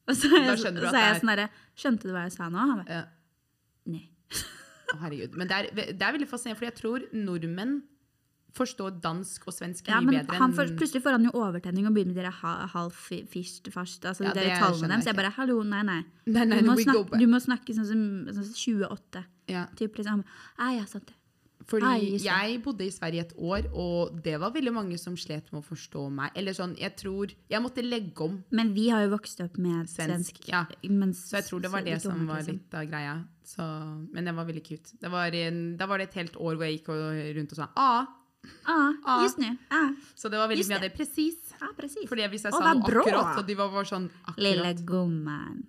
Og så er
Da
jeg, så
skjønner du at
er jeg
det er-
sånn derre Skjønte du hva jeg sa nå? Han bare
eh,
Nei.
å, herregud. Men det er, det er veldig fascinerende, for jeg tror nordmenn forstår dansk og svensk
Ja,
mye
men
bedre
han får,
enn
plutselig får han jo overtenning og begynner med de der ha, halv fi- fist fast, altså
Ja,
de
det
der tallene
skjønner
dem. Så
jeg
jeg bare Hallo, nei, nei.
Nei, nei,
du, må
we go
snakke,
back.
du må snakke sånn som sånn som 28.
ja.
Typ liksom. Ah, ja, sant det. Nei,
Fordi
just det.
jeg bodde i Sverige et år, og det var veldig mange som slet med å forstå meg. Eller sånn, jeg tror Jeg måtte legge om,
Men vi har jo vokst opp med
Svensk,
svensk.
ja.
mens-
så jeg tror det var det
litt
som
ungene,
var
liksom.
litt av greia. Så, men det var veldig cute. Det var en, da var det et helt år hvor jeg gikk og- rundt og sa A.
Ah,
Ah.
just nu. Ah,
Så det var veldig
Just
mye av det. Presis.
ah, precis.
Fordi hvis jeg
Å,
sa
hva
noe
bra!
akkurat, og de var bare sånn
Lille
akkurat.
gumman.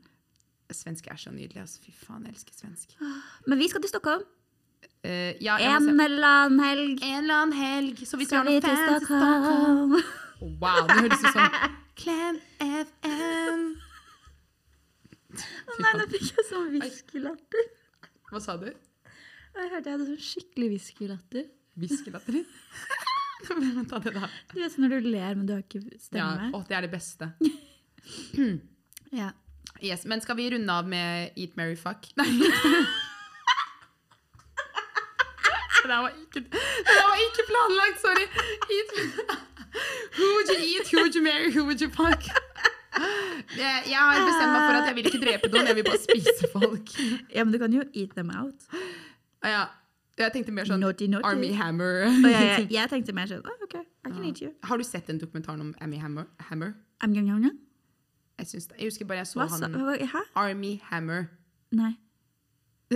Svensk er så nydelig. Altså. Fy faen, jeg elsker svensk.
Men vi skal til Stockholm.
Eh, ja, jeg må
En
se.
eller annen helg
en eller annen helg, så hvis vi har
skal vi
noen
til
fans i Stockholm
Stockholm.
Wow, det høres ut som Klem FM.
(laughs) Nei, nå fikk jeg sånn whiskylatter.
Hva sa du?
Jeg hørte jeg hadde sånn skikkelig whiskylatter.
Hviskelatter (laughs) din? Men ta det da.
Du vet sånn når du ler, men du har ikke
Ja,
stemme.
å, det er det beste.
(clears throat) Ja.
Yes, men skal vi runde av med Eat, marry, fuck? (laughs) Nei. Det der var ikke, det der var ikke planlagt, sorry. Eat, (laughs) who would you eat, who would you marry, who would you fuck? Jeg, jeg har bestemt meg for at jeg vil ikke drepe noen, jeg vil bare spise folk. Ah,
ja, men du kan jo eat them out.
Ja, jeg tenkte mer sånn
Naughty, naughty.
Army Hammer.
Og jeg, jeg, jeg tenkte mer sånn oh, OK, I can eat you.
(laughs) Har du sett den dokumentaren om Army Hammer? Hammer?
I'm young, young, young.
Jeg, syns, jeg husker bare jeg så
Hva sa
han
hva- Hæ?
Army Hammer. (laughs)
Nei.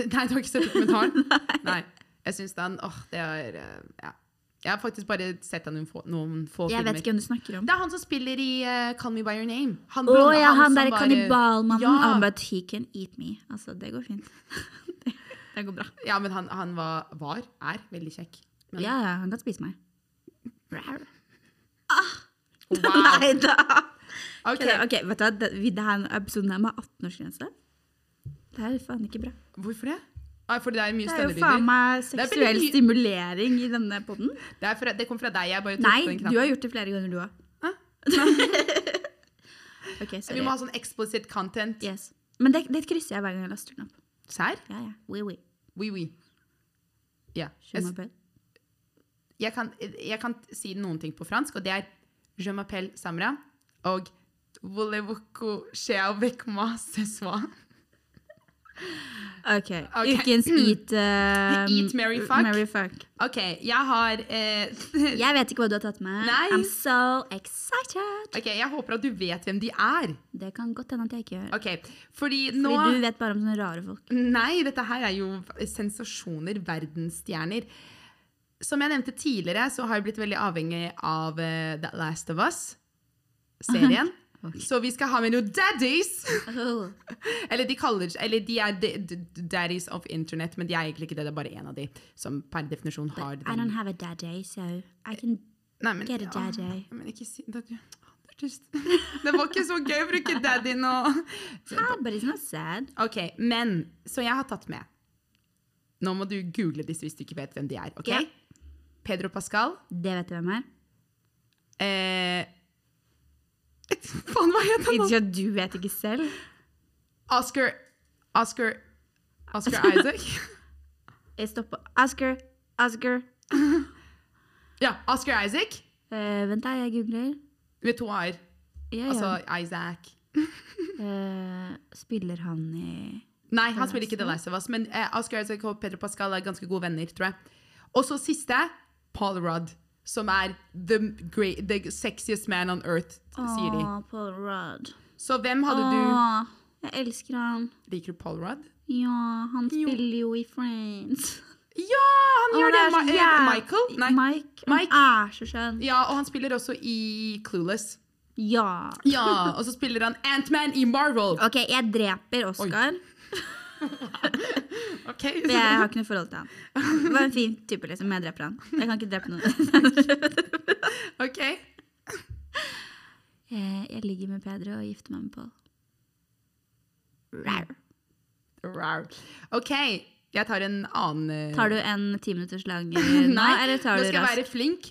Nei, du har ikke sett
(laughs)
dokumentaren? Nei. Jeg syns den åh, det er eh, Ja. Jeg har faktisk bare sett den noen få, noen få
Jeg
filmer.
vet ikke hvem du snakker om.
Det er han som spiller i eh, Call Me By Your Name. Han
Å
blonde,
ja, han der
som var, eh,
kannibalmannen.
Ja.
Ja. but he can eat me. Altså, det går fint. (laughs) det, det går bra.
Ja, men han, han var, var er veldig kjekk. Men
Ja, ja, han kan spise meg. Rar.
Wow.
(laughs) Nei da.
Ah. Ok,
Ok, vet du hva? Det- vi- Det her episoden her med 18-årsgrense, det er faen ikke bra.
Hvorfor det? Ah, fordi det er mye
Det er jo
stønnelyder.
faen meg
Det er veldig
seksuell
mye-
stimulering i denne podden.
Det, er fra- det kom fra deg. Jeg bare trykte på
Nei,
den
du
knappen.
har gjort det flere ganger, du òg.
Hæ?
(laughs) OK,
Vi
sorry.
må ha sånn explicit content.
Yes. Men det, det krysser jeg hver gang jeg laster den opp.
Serr?
Ja, ja. Oui, oui.
Oui, oui. Ja.
Je
Jeg,
m'appelle.
jeg, kan, jeg kan si noen ting på fransk, og det er Je m'appelle Samra og Voulez-vous chez avec moi ce soir?
OK.
Ok. (clears throat)
Ukens eat um,
Eat, marry, fuck.
marry, fuck.
OK, jeg har eh, (laughs)
Jeg vet ikke hva du har tatt med.
Nei.
I'm so excited!
Ok, jeg håper at du vet hvem de er.
Det kan godt hende at jeg ikke gjør.
Ok, fordi
Fordi
nå...
du vet bare om sånne rare
(laughs)
folk.
Nei, dette her er jo sensasjoner, verdensstjerner. Som jeg nevnte tidligere, så har jeg blitt veldig avhengig av eh, That Last of Us-serien. Så vi skal ha med noen daddies!
Oh.
Eller de, kaller, eller de er d- d- daddies of internet, men de er egentlig ikke det. Det er bare én av de som per definisjon
I
har den.
don't have a daddy, so I can
Nei, men,
get a
Åh,
daddy.
men ikke si det, du. Det er just- (laughs) det var ikke så gøy å bruke daddy nå. (laughs) Eh,
Ah, but it's not sad.
Ok, men Så jeg har tatt med Nå må du google disse hvis du ikke vet hvem de er. ok?
Ja.
Pedro Pascal.
Det vet du hvem er.
Eh, (laughs) faen, hva het han? da?
Ikke at du vet ikke selv.
Oscar Oscar Oscar Isaac.
Jeg stopper. Oscar, Oscar.
ja, Oscar Isaac
Eh, vent, da, jeg googler.
med to a-er.
Ja, ja.
Altså Isaac.
Eh, spiller han i
Nei, han spiller ikke The Last of Us, men eh, Oscar Isaac og Pedro Pascal er ganske gode venner, tror jeg. Og så siste, Paul Rudd, som er the, great, the sexiest man on earth, sier de.
Åh, Paul Rudd.
Så hvem hadde
Åh, jeg elsker han.
du Liker du Paul Rudd?
Ja, han
Jo.
spiller jo i Friends.
Ja, han
Åh,
gjør det!
Ah, er så
Ma- eh,
jæv-
Michael? Nei.
Mike.
Mike.
Han er så skjønn.
Ja, og han spiller også i Clueless.
Ja.
Ja, og så spiller han Ant-Man i
(laughs)
Marvel.
Ok, jeg dreper Oscar.
Ok,
For jeg har ikke noe forhold til han. Det var en fin type, liksom. men Jeg dreper han. Jeg kan ikke drepe
(laughs)
noen.
(laughs) ok.
Eh, jeg ligger med Pedro og gifter meg med Paul. Rar.
Rar. Ok, jeg tar en annen eh,
Tar du en timinutters
(laughs)
lang nå,
Nei,
eller Mhm, tar
nå
du
skal jeg
raskt?
være flink.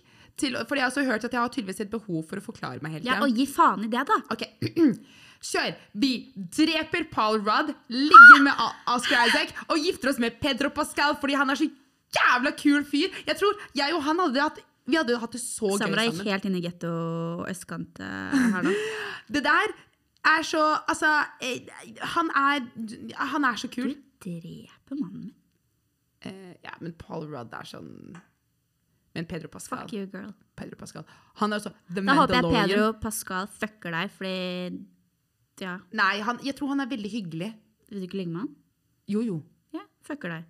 Til, for jeg har også hørt at jeg har tydeligvis et behov for å forklare meg hele
Ja,
tiden.
og gi faen i det, da.
Ok, (clears throat) kjør. Vi dreper Paul Rudd, ligger med A- Oscar Isaac og gifter oss med Pedro Pascal fordi han er så jævla kul fyr. Jeg tror jeg og han hadde hatt vi hadde hatt det så gøy
Samra gikk
sammen.
helt inn i getto og østkant eh, her
(laughs)
nå.
Det der er så Altså, eh, han er, han er så
Du
kul.
dreper mannen min.
Eh, ja, men Paul Rudd er sånn Men Pedro Pascal,
Fuck you, girl.
Pedro Pascal Han er også The
Da håper jeg
Mandalorian.
Pedro Pascal fucker deg, fordi Ja,
Nei, han, jeg tror han er veldig hyggelig.
vil du ikke ligge med han?
Jo, jo.
Ja, fucker deg.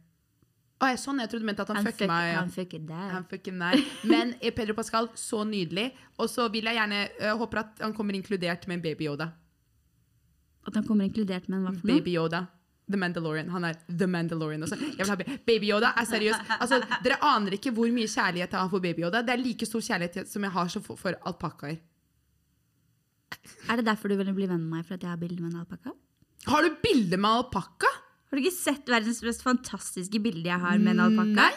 Å, jeg, sånn, jeg trodde du mente at han,
Han
fucker
fucker,
meg. ja.
han fucker deg.
Han fucker meg. Men eh, Pedro Pascal, så nydelig. Og så vil jeg gjerne eh, håper at han kommer inkludert med en baby Yoda.
At han kommer inkludert med en hva for noe?
Baby Yoda. The Mandalorian. Han er The Mandalorian også. Jeg vil ha ba- baby Yoda er seriøs. Altså, dere aner ikke hvor mye kjærlighet jeg har for baby Yoda. Det er like stor kjærlighet som jeg har så for, for alpakkaer.
Er det derfor du ville bli venn med meg? For at jeg har bilde med en alpakka?
Har du bilde med alpakka?
Har du ikke sett verdens mest fantastiske bilde jeg har med en alpakka?
Nei.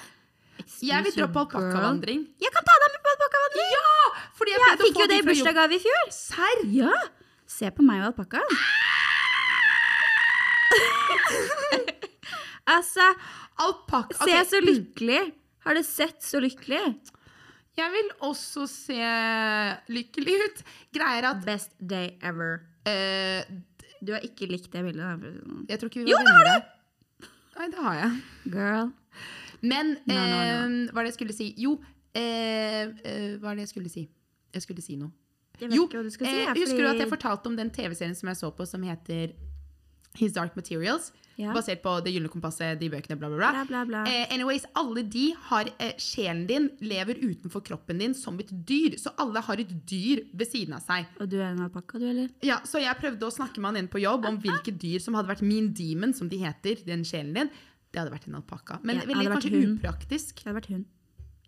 Jeg vil dra på alpakkavandring.
Jeg kan ta deg med på alpakkavandring!
Ja! Fordi
Ah, Jeg
jeg, prøvde å
fikk
få
jo det i
fra jobb.
bursdagsgave i fjor!
Serr?
Ja! Se på meg og
(laughs)
alpakkaen. altså,
Alpakka
se
Ok,
så lykkelig. Har du sett så lykkelig?
Jeg vil også se lykkelig ut. Greier at
Best day ever.
eh,
Du har ikke likt det bildet. da, for å si det sånn.
Jeg tror ikke vi var venner. Nei, det har jeg.
Girl.
Men
Nei, nei, nei.
eh, hva er det jeg skulle si? Jo, eh, eh, hva er det jeg skulle si? Jeg skulle si noe.
Jeg vet
Jo,
ikke hva du skal si.
eh,
jeg,
husker du at jeg
fordi-
fortalte om den TV-serien som jeg så på som heter His Dark Materials?
Ja.
Basert på Det gylne kompasset, de bøkene, bla, bla, bla.
Bla, bla, bla.
Eh, anyways, alle de har eh, Sjelen din lever utenfor kroppen din som et dyr, så alle har et dyr ved siden av seg.
Og du er en alpakka, du, eller?
Ja, så jeg prøvde å snakke med han inn på jobb om hvilke dyr som hadde vært min demon, som de heter, den sjelen din. Det hadde vært en alpakka. Men
Ja, hadde
veldig
vært
kanskje
hund.
upraktisk.
Det hadde vært hun.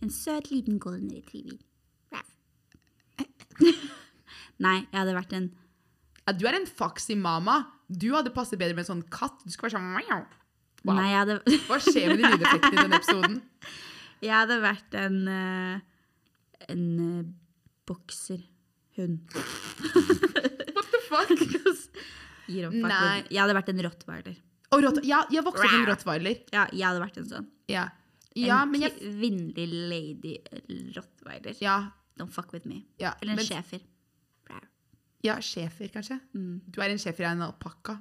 En søt liten golden retriever. (laughs) Nei, jeg hadde vært en
Ja, Du er en foxy-mama. Du hadde passet bedre med en sånn katt. Du skulle vært sånn meow. Wow.
Nei, jeg hadde, (laughs)
Hva skjer med de lydeffektene i denne episoden?
jeg hadde vært en eh, En eh, bokserhund.
What the fuck?
Gir opp fart.
Nei.
Jeg hadde vært en rottweiler.
Og rott, ja, jeg vokste opp med rottweiler.
Ja, jeg hadde vært en sånn.
Ja. Ja,
en
men jeg,
kvinnelig lady eh, rottweiler.
ja,
Don't fuck with me.
ja,
Eller en
men-
schæfer.
Ja, schæfer, kanskje. Du er en schæfer, jeg er en alpakka.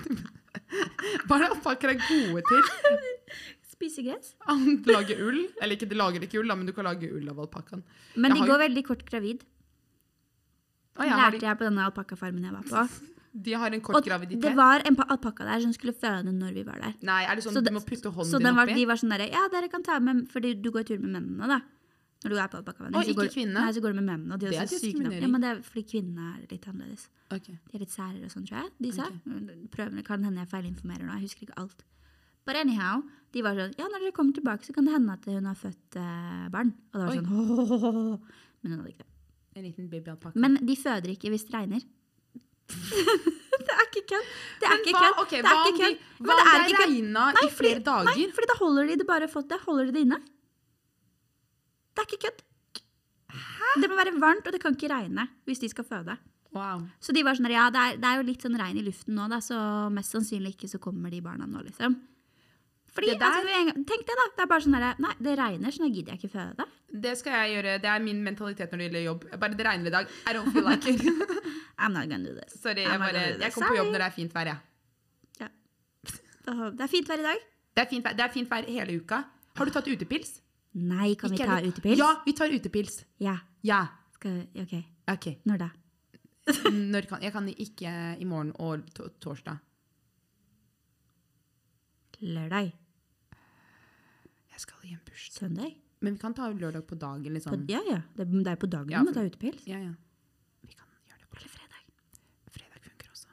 Hva er det alpakkaer er gode til?
Spise gress.
De lager ull. Eller ikke, de lager ikke ull, da, men du kan lage ull av alpakkaen.
Men
Jeg
de
har jo-
går veldig kort gravid.
Å ja, har
Lærte
de,
jeg på denne alpakkafarmen jeg var på.
de har en kort
Og det
graviditet.
var en alpakka der som skulle føde når vi var der.
Nei, er det sånn
Så
du
det-
må putte
Så
hånden
den
din
var,
oppi?
de var sånn derre Ja, dere kan ta med Fordi du går tur med mennene, da. Når du er på alpakkavandring.
Å, ikke kvinne.
Nei, så går du med mennene. Og de
Det
er
er
også syke nok.
diskriminering.
Ja, men det er fordi kvinnene er litt annerledes.
Ok.
De er litt særere og sånn, tror jeg. De sa. "Mm,
Ok.
Prøvene kan hende jeg feilinformerer nå. Jeg husker ikke alt. But anyhow, de var sånn Ja, når dere kommer tilbake, så kan det hende at hun har født eh, barn. Og det var
Oi.
sånn (laughs) «Åh». Men hun hadde ikke det.
En liten babyalpakka.
Men de føder ikke hvis det
(laughs)
regner. det er ikke kødd. Det er
Men
ikke
hva,
kødd.
ok,
Det er
hva
ikke
om
kødd.
de-
Men
hva
det
om
er
det
ikke kødd.
regna i
Nei, fordi-
flere dager?
Nei, fordi da holder de det bare fått det. Holder de det inne. Det er ikke kødd. Det må være varmt, og det kan ikke regne hvis de skal føde.
Wow.
Så de var sånn, ja, det er, det er jo litt sånn regn i luften nå, da, så mest sannsynlig ikke så kommer de barna nå, liksom. Fordi,
Det der-
altså, med en gang, tenk det da, det er bare sånn der, nei, det regner, så nå gidder jeg ikke føde.
Det skal jeg gjøre. Det er min mentalitet når det gjelder jobb. Bare det regner i dag. I don't feel like it. (laughs)
I'm not gonna do this.
Sorry,
I'm
jeg,
not
bare,
gonna do
jeg
this.
kom på jobb
Sorry.
når det er fint vær, jeg.
Åh, Det er fint vær i dag.
Det er fint vær, det er fint vær hele uka. Har du tatt utepils?
Nei, kan
Ikke
vi ta
heller.
utepils?
Ja, vi tar utepils.
Ja,
Ja.
skal, ok,
Ok.
når da?
Når kan, jeg kan ikke i morgen og to- torsdag.
Lørdag,
Jeg skal i en bursdag.
søndag?
Men vi kan ta lørdag på dagen,
På,
liksom.
ja, ja, det, det er på dagen
Ja,
du må
for-
ta utepils.
Ja, ja. Vi kan gjøre det på
Eller fredag,
fredag. Funker også.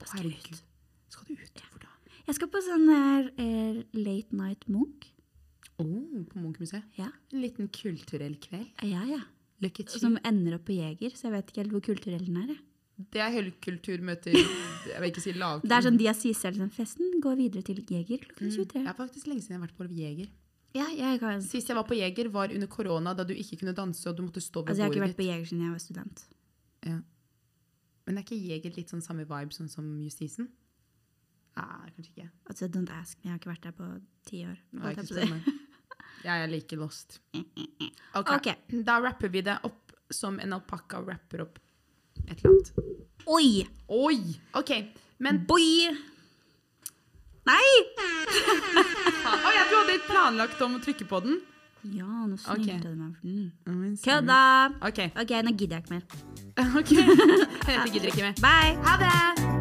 da skal jeg
Herregud.
ut.
Skal du ut? Hvor da?
Jeg skal på sånn her eh, late night Munch.
Oh, på Munchmuseet.
Ja,
En liten kulturell kveld.
ja, ja.
Lykke til.
Som ender opp på Jeger, så jeg vet ikke helt hvor kulturell den er, jeg.
Det er høykultur møter Jeg vil ikke si lavkultur. Mm.
Det er sånn de har sier selv sånn, festen går videre til Jeger klokken 23.
Det er faktisk lenge siden jeg har vært på Jeger.
Ja, jeg kan altså,
Sist jeg var på Jeger, var under korona, da du ikke kunne danse og du måtte stå ved
Altså, jeg har ikke
bordet
vært på Jeger siden jeg var student.
Men er ikke Jeger litt sånn samme vibe sånn som Justisen? Nei, kanskje ikke.
Altså, don't ask me, jeg har ikke vært der på ti år.
Nå er
holdt jeg på
jeg, ikke
å si.
sånn. jeg er like lost. Ok,
Ok.
Da rapper vi det opp som en alpakka rapper opp et eller annet.
Oi!
Oi! OK. Men
Boy! Nei!
faen. Å ja, du hadde helt planlagt om å trykke på den?
Ja, nå snylte du meg for den.
Kødd,
Kødda!
OK. (laughs)
Ok, nå gidder jeg ikke mer.
ok. Dette gidder ikke mer.
Bye!
Ha det!